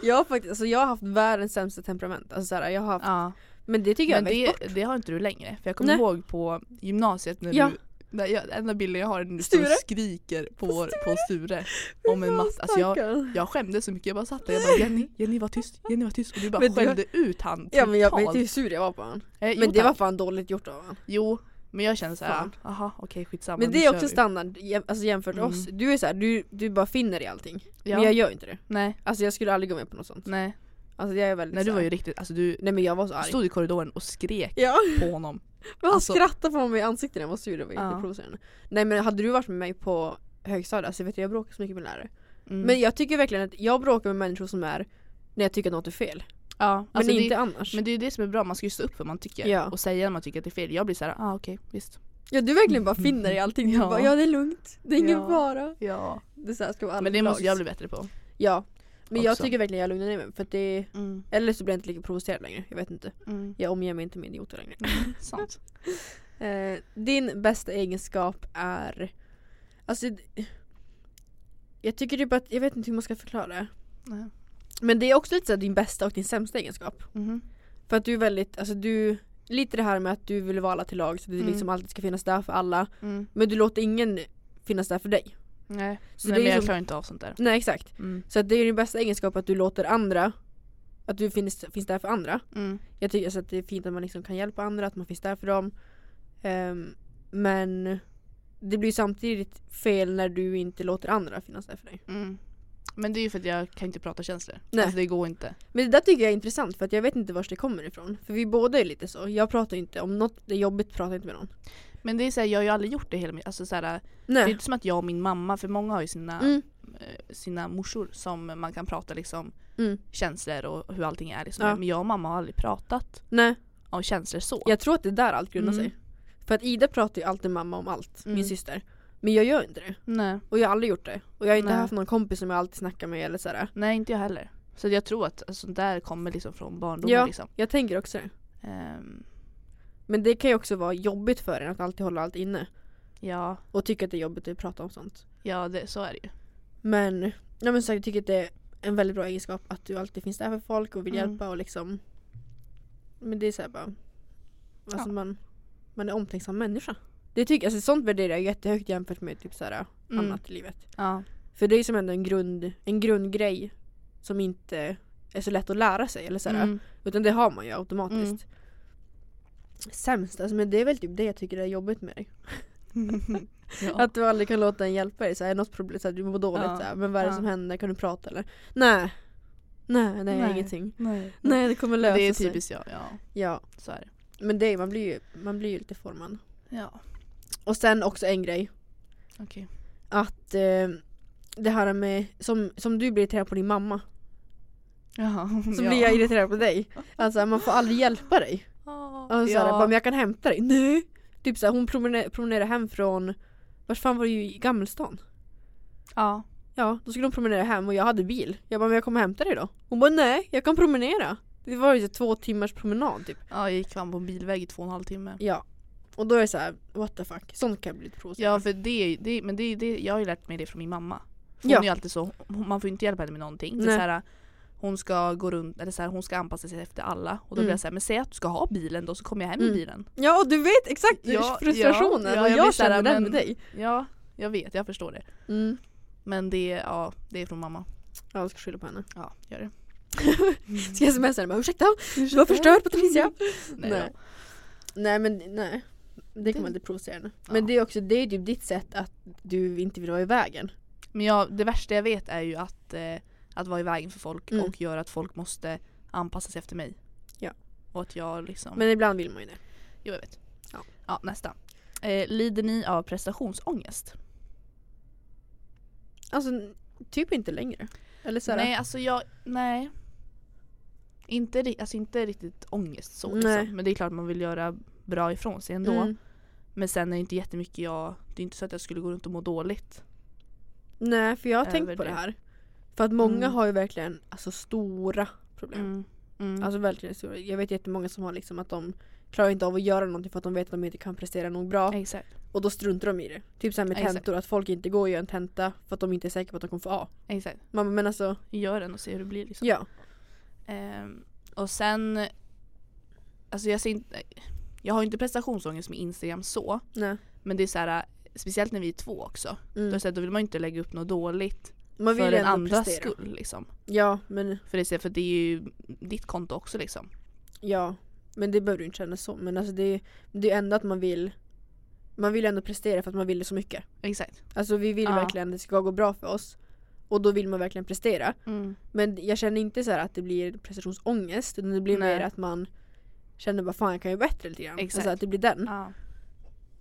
jag, har faktiskt, alltså, jag har haft världens sämsta temperament. Alltså, så här, jag har haft,
Ja.
Men det tycker jag
Men
är
det,
bäst.
det har inte du längre. För jag kommer
Nej.
ihåg på gymnasiet när
Ja.
du när jag, enda bilden jag har är när du står och
Sture.
skriker på, på Sture. Om en massa. Alltså jag, jag skämdes så mycket. Jag bara satt där jag bara Jenny, Jenny var tyst, Jenny var tyst. Och du bara
Men du-
skällde ut han totalt.
Ja men jag vet ju hur sur jag var på honom.
Eh,
Men
jo,
det var
tack.
fan dåligt gjort av honom.
Jo, men jag känner såhär,
Fan.
jaha okej skitsamma.
Men
nu
det är
kör
också
vi.
standard jäm- alltså jämfört med
Mm.
oss. Du är så här, du, du bara finner i allting.
Ja.
Men jag gör inte det.
Nej,
Alltså jag skulle aldrig gå med på något sånt.
nej.
Alltså jag är väldigt
Nej du
så
var
här-
ju riktigt, alltså du
Nej men jag var så arg.
stod i korridoren och skrek
Ja,
på honom.
men han
Alltså-
skrattade på mig i ansiktet när jag var sur, det var
Ja.
jätteprovocerande. Nej men hade du varit med mig på högstadiet, alltså vet du jag bråkar så mycket med lärare.
Mm.
Men jag tycker verkligen att jag bråkar med människor som är när jag tycker att något är fel.
ja,
Men
alltså det-
inte annars.
Men det är ju det som är bra, man ska ju stå upp för vad man tycker
Ja.
och säga när man tycker att det är fel. Jag blir såhär, ah okej, visst.
Ja du verkligen bara finner i allting. Du
Ja.
bara, ja det är lugnt, det är ingen
Ja.
fara.
Ja.
Det är så här ska vara alla
Men det
till
måste jag
lags.
bli bättre på.
Ja. Men jag
också.
tycker verkligen jag lugnar ner mig för att det Eller så blir jag inte lika provocerad längre, jag vet inte. Jag omger mig inte med idioter längre.
Sant.
Eh, din bästa egenskap är... Alltså... d- Jag tycker typ att, jag vet inte hur man ska förklara det.
Nej.
Men det är också lite såhär din bästa och din sämsta egenskap.
Mhm.
För att du är väldigt, alltså du... Lite det här med att du vill vara alla till lag så du
Mm.
liksom alltid ska finnas där för alla. Men du låter ingen finnas där för dig.
Nej,
Så
Nej
det är liksom-
men jag
som-
klarar inte av sånt där. Mm.
Nej exakt. Så att det är din bästa egenskap att du låter andra, att du finns, finns där för andra. Jag tycker alltså att det är fint att man liksom kan hjälpa andra, att man finns där för dem. Ehm, men det blir samtidigt fel när du inte låter andra finnas där för dig.
Mm. Men det är ju för att jag kan inte prata känslor.
Nej.
Alltså det går inte.
Men det där tycker jag är intressant för att jag vet inte var det kommer ifrån. För vi båda är lite så. Jag pratar inte, om något är jobbigt pratar jag inte med någon.
Men det är såhär, jag har ju aldrig gjort det hela mitt alltså så här, Det är
Nej.
inte som att jag och min mamma, för många har ju sina,
Mm.
eh, sina morsor som man kan prata liksom
Mm.
känslor och hur allting är. Liksom.
Ja.
Men jag och mamma har aldrig pratat
Nej.
om känslor så.
Jag tror att det är där allt grundar
Mm.
sig. För att Ida pratar ju alltid med mamma om allt,
Mm.
min syster. Men jag gör inte det.
Nej.
Och jag har aldrig gjort det. Och jag har inte
Nej.
haft någon kompis som jag alltid snackar med eller sådär.
Nej inte jag heller. Så jag tror att sånt där kommer liksom från barndomen.
Ja.
Liksom.
Jag tänker också det.
Ehm,
Men det kan ju också vara jobbigt för en att alltid hålla allt inne.
ja,
och tycker att det är jobbigt att prata om sånt.
ja det, så är det ju.
Men, ja, men så jag tycker att det är en väldigt bra egenskap att du alltid finns där för folk och vill
Mm.
hjälpa och liksom Men det är såhär bara Alltså
Ja.
man, man är omtänksam människa. Det tycker, alltså sånt värderar jag jättehögt jämfört med typ såhär,
Mm.
annat i livet.
Ja.
För det är som ändå en, grund, en grundgrej som inte är så lätt att lära sig. Eller såhär,
Mm.
Utan det har man ju automatiskt. Mm. Sämst, alltså, men det är väl typ det jag tycker är jobbigt med dig.
ja.
Att du aldrig kan låta en hjälpa dig, såhär, är det något problem, såhär, du mår dåligt,
Ja.
såhär, men vad är det
Ja.
som händer, kan du prata eller? Nej, nej, nej,
Nej.
ingenting.
nej.
Nej det kommer lösa
det är
sig.
typiskt jag. Ja,
Ja,
så är det.
men det, är- man, blir ju, man blir ju lite formad.
Ja,
Och sen också en grej,
okej.
att eh, det här med, som, som du blir irriterad på din mamma.
Jaha,
så
ja.
blir jag irriterad på dig. Alltså man får aldrig hjälpa dig.
Ja.
Och så här, bara, men jag kan hämta dig. Nej! Typ såhär, hon promener- promenerade hem från, vart fan var det ju i Gamlestan?
ja.
Ja, då skulle hon promenera hem och jag hade bil. Jag bara, men jag kommer hämta dig då. Hon bara, nej jag kan promenera. Det var ju så två timmars promenad typ.
ja, jag gick fram på en bilväg i två och en halv timme.
Ja. Och då är det så här, what the fuck. Sånt kan jag bli lite provocerad.
Ja, för det, det, men det, det, jag har ju lärt mig det från min mamma. För
Ja.
Hon är ju alltid så, hon- man får ju inte hjälpa henne med någonting. Det är
Nej.
så här, hon ska gå runt, eller så här, hon ska anpassa sig efter alla. Och då blir
Mm.
jag såhär, men säg att du ska ha bilen då så kommer jag hem med
Mm.
bilen.
Ja, och du vet exakt
Ja,
frustrationen.
ja, ja,
och
jag
jag,
blir så här,
känner den
men-
med dig.
Ja, jag vet, jag förstår det.
Mm.
Men det, ja, det är från mamma.
Ja, jag ska skylla på henne.
Ja, gör det.
Ska jag smsa henne bara ursäkta, du
Ursäkta?
har förstört Patricia.
Nej,
Nej.
då.
nej men nej. Det kan
Det-
vara lite provocerande.
Ja.
Men det är också, det är typ ditt sätt att du inte vill vara i vägen.
Men jag, det värsta jag vet är ju att, eh, att vara i vägen för folk
Mm.
och göra att folk måste anpassa sig efter mig.
Ja.
Och att jag liksom...
Men ibland vill man ju det.
Jo, jag vet.
Ja.
Ja, nästa. Eh, lider ni av prestationsångest?
Alltså typ inte längre. Eller såhär,
Nej, alltså jag... Nej. Inte, ri- alltså inte riktigt ångest så
Nej.
liksom. Men det är klart man vill göra bra ifrån sig ändå.
Mm,
Men sen är det inte jättemycket jag... Det är inte så att jag skulle gå runt och må dåligt.
nej för jag har tänkt
Över
på det
det.
här. För att många
Mm.
har ju verkligen alltså, stora problem.
Mm.
Alltså verkligen stora. Jag vet jättemånga som har liksom att de klarar inte av att göra någonting för att de vet att de inte kan prestera nog bra.
Exakt.
Och då struntar de i det. Typ såhär med
Exakt.
tentor, att folk inte går och gör en tenta för att de inte är säkra på att de kommer få A.
Exakt.
Man bara, men alltså,
Gör den och se hur det blir liksom.
ja.
Ehm, och sen... Alltså jag ser inte... Jag har ju inte prestationsångest med Instagram så.
Nej.
Men det är så här, speciellt när vi är två också. Då, är det
Mm.
så här, då vill man ju inte lägga upp något dåligt
Man vill
för
ju
den
ändå
andras
prestera.
skull. Liksom.
Ja men,
För, det är, så här, för det är ju ditt konto också liksom.
ja. Men det behöver du inte känna så. Men alltså det, det är ändå att man vill Man vill ändå prestera för att man vill så mycket.
Exakt.
Alltså vi vill
Ja.
verkligen att det ska gå bra för oss. Och då vill man verkligen prestera. Men jag känner inte så här att det blir prestationsångest. Utan det blir
Nej.
mer att man känner bara fan jag kan ju bättre lite grann.
Exakt.
Alltså att det blir den.
Ja.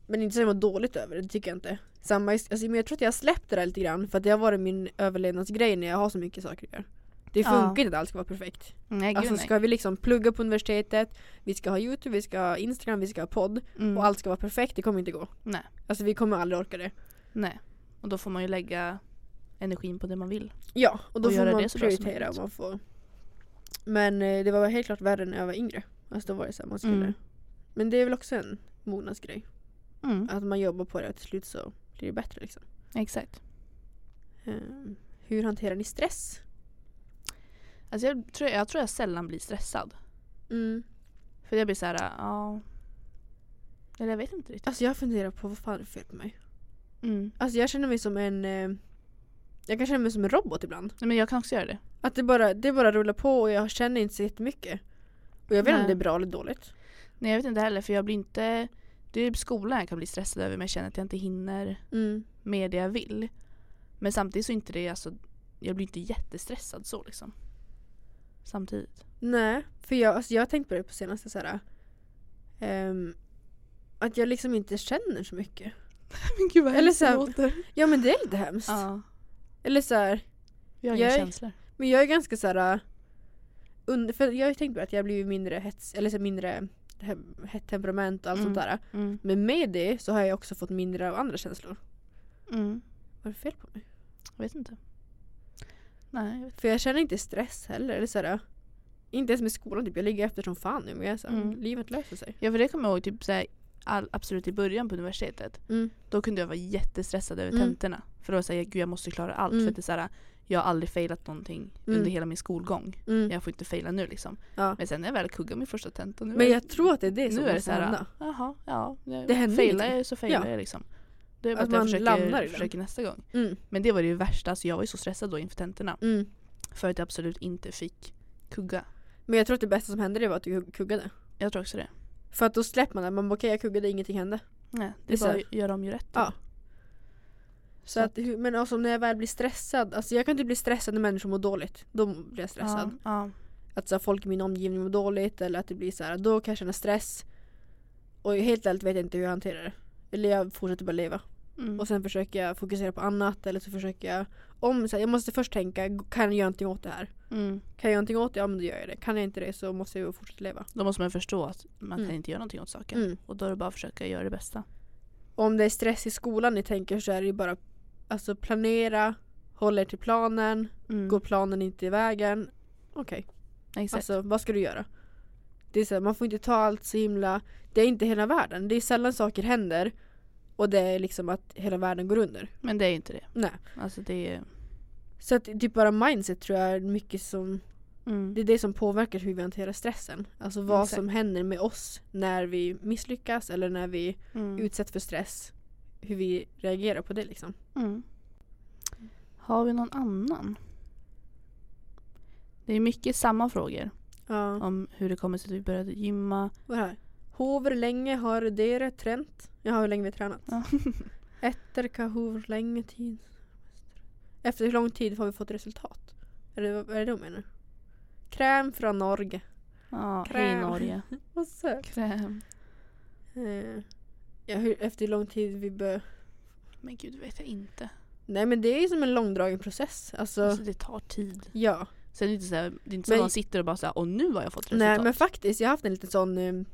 Men inte så att jag mår dåligt över det, det tycker jag inte. Samma, alltså, men jag tror att jag har släppt det där lite grann för att det har varit min överlevnadsgrej när jag har så mycket saker att göra. Det
Ja.
funkar inte att allt ska vara perfekt.
Nej gud
Alltså
nej.
ska vi liksom plugga på universitetet, vi ska ha youtube, vi ska ha instagram, vi ska ha podd
Mm.
och allt ska vara perfekt, det kommer inte gå.
Nej.
Alltså vi kommer aldrig orka det.
nej. Och då får man ju lägga energin på det man vill.
Ja, och då
Och
får
göra
man
det så bra som
prioritera och
möjligt.
man får. Men eh, det var helt klart värre när jag var yngre. Alltså då var det så här, man skulle.
Mm.
Men det är väl också en mognadsgrej.
Mm.
Att man jobbar på det och till slut så blir det bättre liksom.
Exakt.
Eh, hur hanterar ni stress?
Alltså jag, tror, jag tror jag sällan blir stressad.
Mm.
För jag blir så här, ja... Eller jag vet inte riktigt.
Alltså jag funderar på vad fan är det för fel på mig?
Mm.
Alltså jag känner mig som en... Eh, jag kan känna mig som en robot ibland.
Nej, men jag kan också göra det.
Att det bara, det bara rullar på och jag känner inte så jättemycket. Och jag vet inte
Nej.
om det är bra eller dåligt.
Nej jag vet inte heller för jag blir inte... Det är typ skolan jag kan bli stressad över men jag känner att jag inte hinner
Mm.
med det jag vill. Men samtidigt så är inte det alltså... Jag blir inte jättestressad så liksom. Samtidigt.
Nej, för jag, alltså jag har tänkt på det på senaste så här. ehm, att jag liksom inte känner så mycket.
Men gud vad
Eller
hemskt
så
det
här-
låter.
Ja men det är lite hemskt.
Ja.
Eller så här,
Vi har inga
Jag är-
känslor.
men jag är ganska så här. Under, för jag har ju tänkt på det, att jag blir ju mindre hets, eller så här, mindre hem- hett temperament och allt
Mm.
sånt där.
Mm.
Men med det så har jag också fått mindre av andra känslor.
Mm.
Vad är det fel på mig?
Jag vet inte. Nej jag vet
För jag känner inte stress heller. Eller så här, inte ens med skolan, typ. jag ligger efter som fan nu. Men jag är så här,
Mm.
livet löser sig.
Ja för det kommer jag ihåg typ så här, all, absolut i början på universitetet.
Mm.
Då kunde jag vara jättestressad över
Mm.
tentorna. För då var jag såhär, gud jag måste klara allt.
Mm.
För att det är så här, jag har aldrig failat någonting
Mm.
under hela min skolgång.
Mm.
jag får inte faila nu liksom.
Ja.
Men sen när jag väl kuggar min första tenta nu
Men jag tror att det är det som
nu är det
måste
så här,
hända.
Jaha, ja.
Det
Det
händer
failar
ingenting.
jag så failar
Ja.
jag liksom. Det är bara
Att
att, jag
man
försöker,
landar i den.
försöker nästa gång.
Mm.
Men det var det ju värsta, alltså jag var ju så stressad då inför tentorna.
Mm.
För att jag absolut inte fick kugga.
Men jag tror att det bästa som hände det var att du kug- kuggade.
Jag tror också det.
För att då släpper man det. Man bara okej jag kuggade, ingenting hände.
Nej, det,
Det är
är
så här-
bara att göra om ju rätt.
Ja. Så
Så
att, hur- men också när jag väl blir stressad, alltså jag kan inte bli stressad när människor mår dåligt. Då blir jag stressad.
Ja,
Att så här, folk i min omgivning mår dåligt eller att det blir så här, då kan jag känna stress. Och helt ärligt vet jag inte hur jag hanterar det. Eller jag fortsätter bara leva.
Mm.
Och sen försöker jag fokusera på annat eller så försöker jag om så här, jag måste först tänka, kan jag göra någonting åt det här?
mm.
Kan jag göra någonting åt det? Ja men då gör jag det. Kan jag inte det så måste jag ju fortsätta leva.
Då måste man förstå att man
Mm.
kan inte göra någonting åt saken.
Mm.
Och då är det bara att försöka göra det bästa.
Om det är stress i skolan ni tänker så är det ju bara alltså planera, håll er till planen,
Mm.
går planen inte i vägen, okej.
Exakt.
Alltså vad ska du göra? Det är så här, man får inte ta allt så himla, det är inte hela världen. Det är sällan saker händer och det är liksom att hela världen går under.
Men det är ju inte det.
Nej.
Alltså det är...
Så att typ bara mindset tror jag är mycket som,
Mm.
det är det som påverkar hur vi hanterar stressen. Alltså vad
Exakt.
som händer med oss när vi misslyckas eller när vi
Mm.
utsätts för stress. Hur vi reagerar på det liksom.
Mm. Har vi någon annan? Det är mycket samma frågor
Ja.
om hur det kommer sig att vi började gymma.
Vad är det här? Hover länge har det trent. Jaha, hur länge vi har tränat.
Ja.
Efter kahor länge tid. Efter hur lång tid har vi fått resultat? Är det, är det det hon menar? Kräm från Norge.
Ja, hej
Kräm.
Norge.
Vad söt.
Kräm.
Eh, ja, hur, efter hur lång tid vi bör...
Men gud, det vet jag inte.
Nej men det är ju som en långdragen process. Alltså,
Alltså det tar tid.
ja.
Sen är det inte så, här, det är inte så
Men-
att man sitter och bara såhär, och nu har jag fått resultat.
Nej men faktiskt, jag har haft en liten sån, eh,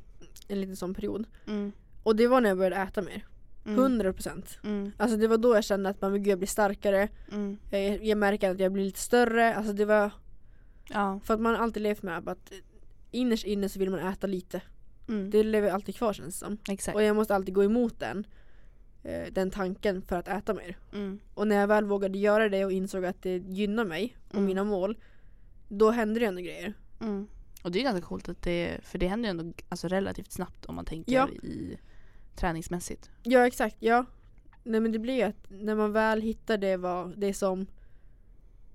en liten sån period.
mm.
Och det var när jag började äta mer.
Mm.
100%.
Mm.
Alltså det var då jag kände att man, men gud, jag blir starkare.
Mm.
Jag, jag märker att jag blir lite större. Alltså det var
Ja.
För att man har alltid levt med att innerst inne så vill man äta lite.
Mm.
Det lever alltid kvar känns det som.
Exakt.
Och jag måste alltid gå emot den, eh, den tanken för att äta mer.
Mm.
Och när jag väl vågade göra det och insåg att det gynnar mig och
Mm.
mina mål, då händer det ändå grejer.
Mm. Och det är ganska coolt att det, för det händer ju ändå alltså, relativt snabbt om man tänker
Ja.
i träningsmässigt.
Ja exakt, ja. Nej men det blir ju att när man väl hittar det, vad, det som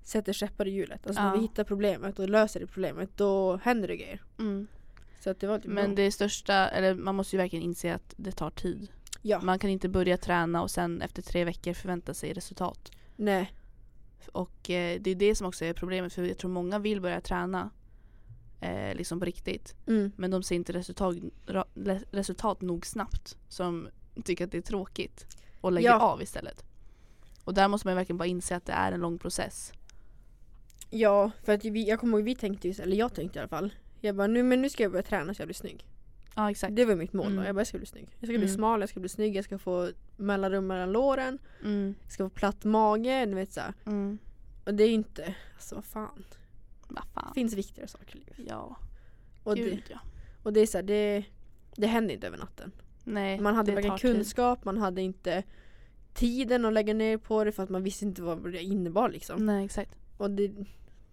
sätter käppar i hjulet, alltså när
Ja.
vi hittar problemet och löser det problemet, då händer det grejer. Så att det var typ
Men
bra.
det största, eller man måste ju verkligen inse att det tar tid.
Ja.
Man kan inte börja träna och sen efter tre veckor förvänta sig resultat.
Nej.
Och eh, det är det som också är problemet för jag tror många vill börja träna eh, liksom på riktigt.
Mm.
Men de ser inte resultat, ra, le- resultat nog snabbt som tycker att det är tråkigt och lägger
Ja.
av istället. Och där måste man ju verkligen bara inse att det är en lång process.
Ja, för att vi, jag kommer ihåg vi tänkte ju, så- eller jag tänkte i alla fall. Jag bara, nu, men nu ska jag börja träna så jag blir snygg.
Ja exakt.
Det var mitt mål
Mm.
då. Jag bara, jag ska bli snygg. Jag ska
Mm.
bli smal, jag ska bli snygg, jag ska få mellanrum mellan låren.
Mm.
Jag ska få platt mage, du vet såhär.
Mm.
Och det är ju inte, alltså vad fan.
Vad
Det
fan.
finns viktigare saker i livet.
Ja,
Och det,
gud ja.
och det är såhär, det, det händer inte över natten.
Nej,
Man hade
det tar
varken
tid.
kunskap, man hade inte tiden att lägga ner på det för att man visste inte vad det innebar liksom.
Nej exakt.
Och det,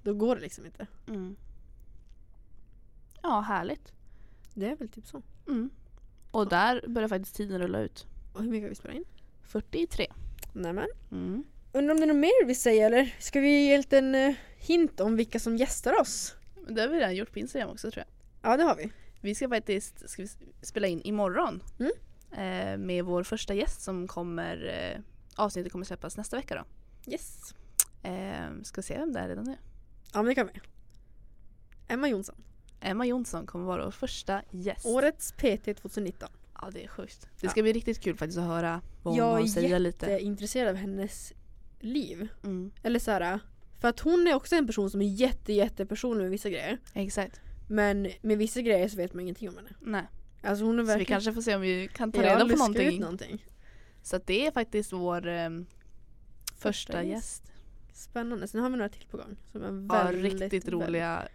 då går det liksom inte.
Mm. Ja, härligt.
Det är väl typ så.
Mm. Och där börjar faktiskt tiden rulla ut.
Och hur mycket har vi spelat in?
43.
Nämen.
Mm.
Undrar om det är något mer vi säger eller? Ska vi ge en liten eh, hint om vilka som gästar oss?
Men Det har vi redan gjort på Instagram också tror jag.
Ja det har vi.
Vi ska faktiskt ska vi s- spela in imorgon.
Mm.
Eh, med vår första gäst som kommer, eh, avsnittet kommer släppas nästa vecka då.
Yes.
Eh, ska se vem det är redan nu.
Ja men det kan vi. Emma Jonsson.
Emma Jonsson kommer vara vår första gäst.
Årets PT 2019.
Ja det är sjukt. Det ska bli riktigt kul faktiskt att höra vad hon
Jag
har
är
att säga
Jag är
lite.
intresserad av hennes liv.
Mm.
Eller så här, för att hon är också en person som är jätte jätte personlig med vissa grejer.
Exakt.
Men med vissa grejer så vet man ingenting om henne.
Nej.
Alltså hon är
Så vi
verkligen...
kanske får se om vi kan ta
Ja,
reda på
luska
någonting.
ut någonting.
Så att det är faktiskt vår ehm, första, gäst.
Spännande. Sen har vi några till på gång. Som är
Ja,
väldigt,
riktigt
väldigt-
roliga.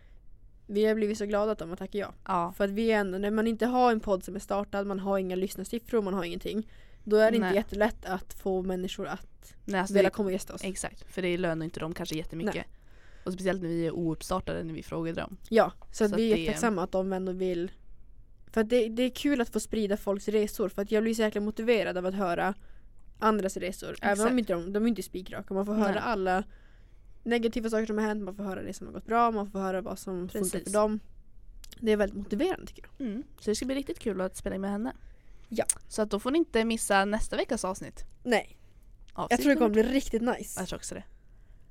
Vi har blivit så glada att de har tackat ja.
Ja,
För att vi är ändå, när man inte har en podd som är startad, man har inga lyssnarsiffror, man har ingenting. Då är det
Nej.
inte jättelätt att få människor att
nej, alltså
vilja
det,
komma och gästa oss.
exakt. För det lönar inte dem kanske jättemycket. Och speciellt när vi är ouppstartade när vi frågar dem.
Ja, så, att
Så
vi
att
är
det-
jättetacksamma att de ändå vill. För att det, det är kul att få sprida folks resor för att jag blir så jäkla motiverad av att höra andras resor. Även
Exakt.
om inte de, de är inte spikraka. Man får höra
Nej.
alla negativa saker som har hänt, man får höra det som har gått bra, man får höra vad som funkar
Precis.
för dem. Det är väldigt motiverande tycker jag.
Så det ska bli riktigt kul att spela in med henne.
Mm. Ja.
Så att då får ni inte missa nästa veckas avsnitt.
Nej,
avsnitt
jag tror det kommer
nummer-
bli riktigt nice.
Jag tror också det.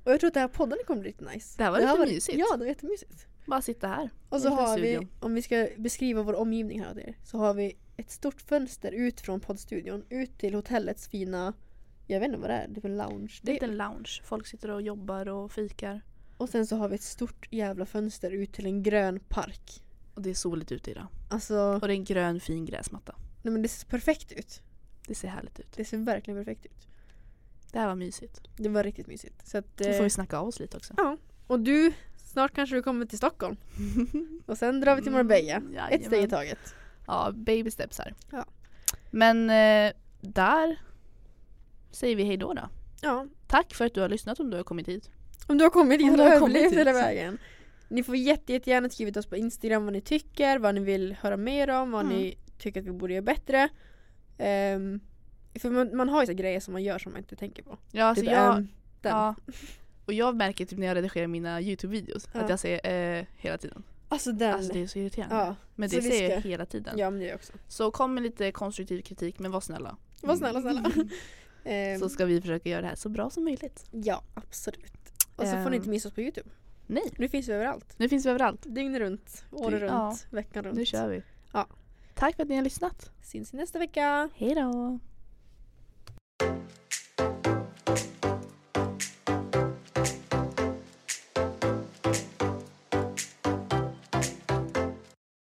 Och jag tror att det här podden kommer bli lite nice.
Det här var lite mysigt.
Ja, det var jättemysigt.
Bara sitta här.
Och så
En liten
har vi,
studio.
om vi ska beskriva vår omgivning här åt er, så har vi ett stort fönster ut från poddstudion ut till hotellets fina Jag vet inte vad det är, det är väl lounge.
Det är inte en lounge. Folk sitter och jobbar och fikar.
Och sen så har vi ett stort jävla fönster ut till en grön park.
Och det är soligt ute idag.
Alltså,
Och det är en grön fin gräsmatta.
nej men det ser perfekt ut.
Det ser härligt ut.
Det ser verkligen perfekt ut.
Det här var mysigt.
Det var riktigt mysigt. Så att,
Nu
eh,
får vi snacka av oss lite också.
Ja. Och du, snart kanske du kommer till Stockholm. Och sen drar vi till Marbella.
Mm,
Ett steg i
jajamän.
taget.
Ja, baby steps här.
Ja.
Men eh, där säger vi hej då då.
Ja.
Tack för att du har lyssnat om du har kommit hit.
Om du har kommit
Om
hit
du
och
har kommit
överlevt
hit.
hela vägen. Ni får jätte, jättegärna skriva till oss på Instagram vad ni tycker, vad ni vill höra mer om, vad
Mm.
ni tycker att vi borde göra bättre. Ehm, för man, man har ju så grejer som man gör som man inte tänker på.
Ja, alltså
typ,
jag,
ehm, den.
ja. Och jag märker typ när jag redigerar mina YouTube-videos
Ja.
att jag säger eh, hela tiden.
Alltså den.
Alltså det är så irriterande.
ja.
Men
så
det
vi
säger jag
ska-
hela tiden.
ja, men det är jag också.
Så kom med lite konstruktiv kritik men var snälla.
Var snälla, snälla. Ehm,
Så ska vi försöka göra det här så bra som möjligt.
ja, absolut. Och så får
Ehm.
ni inte missa oss på Youtube.
Nej,
Nu finns vi överallt.
nu finns vi överallt.
Dygnet runt, året
Dy-
runt,
ja.
veckan runt.
Nu kör vi.
Ja.
Tack för att ni har lyssnat.
Syns vi nästa vecka.
Hej då.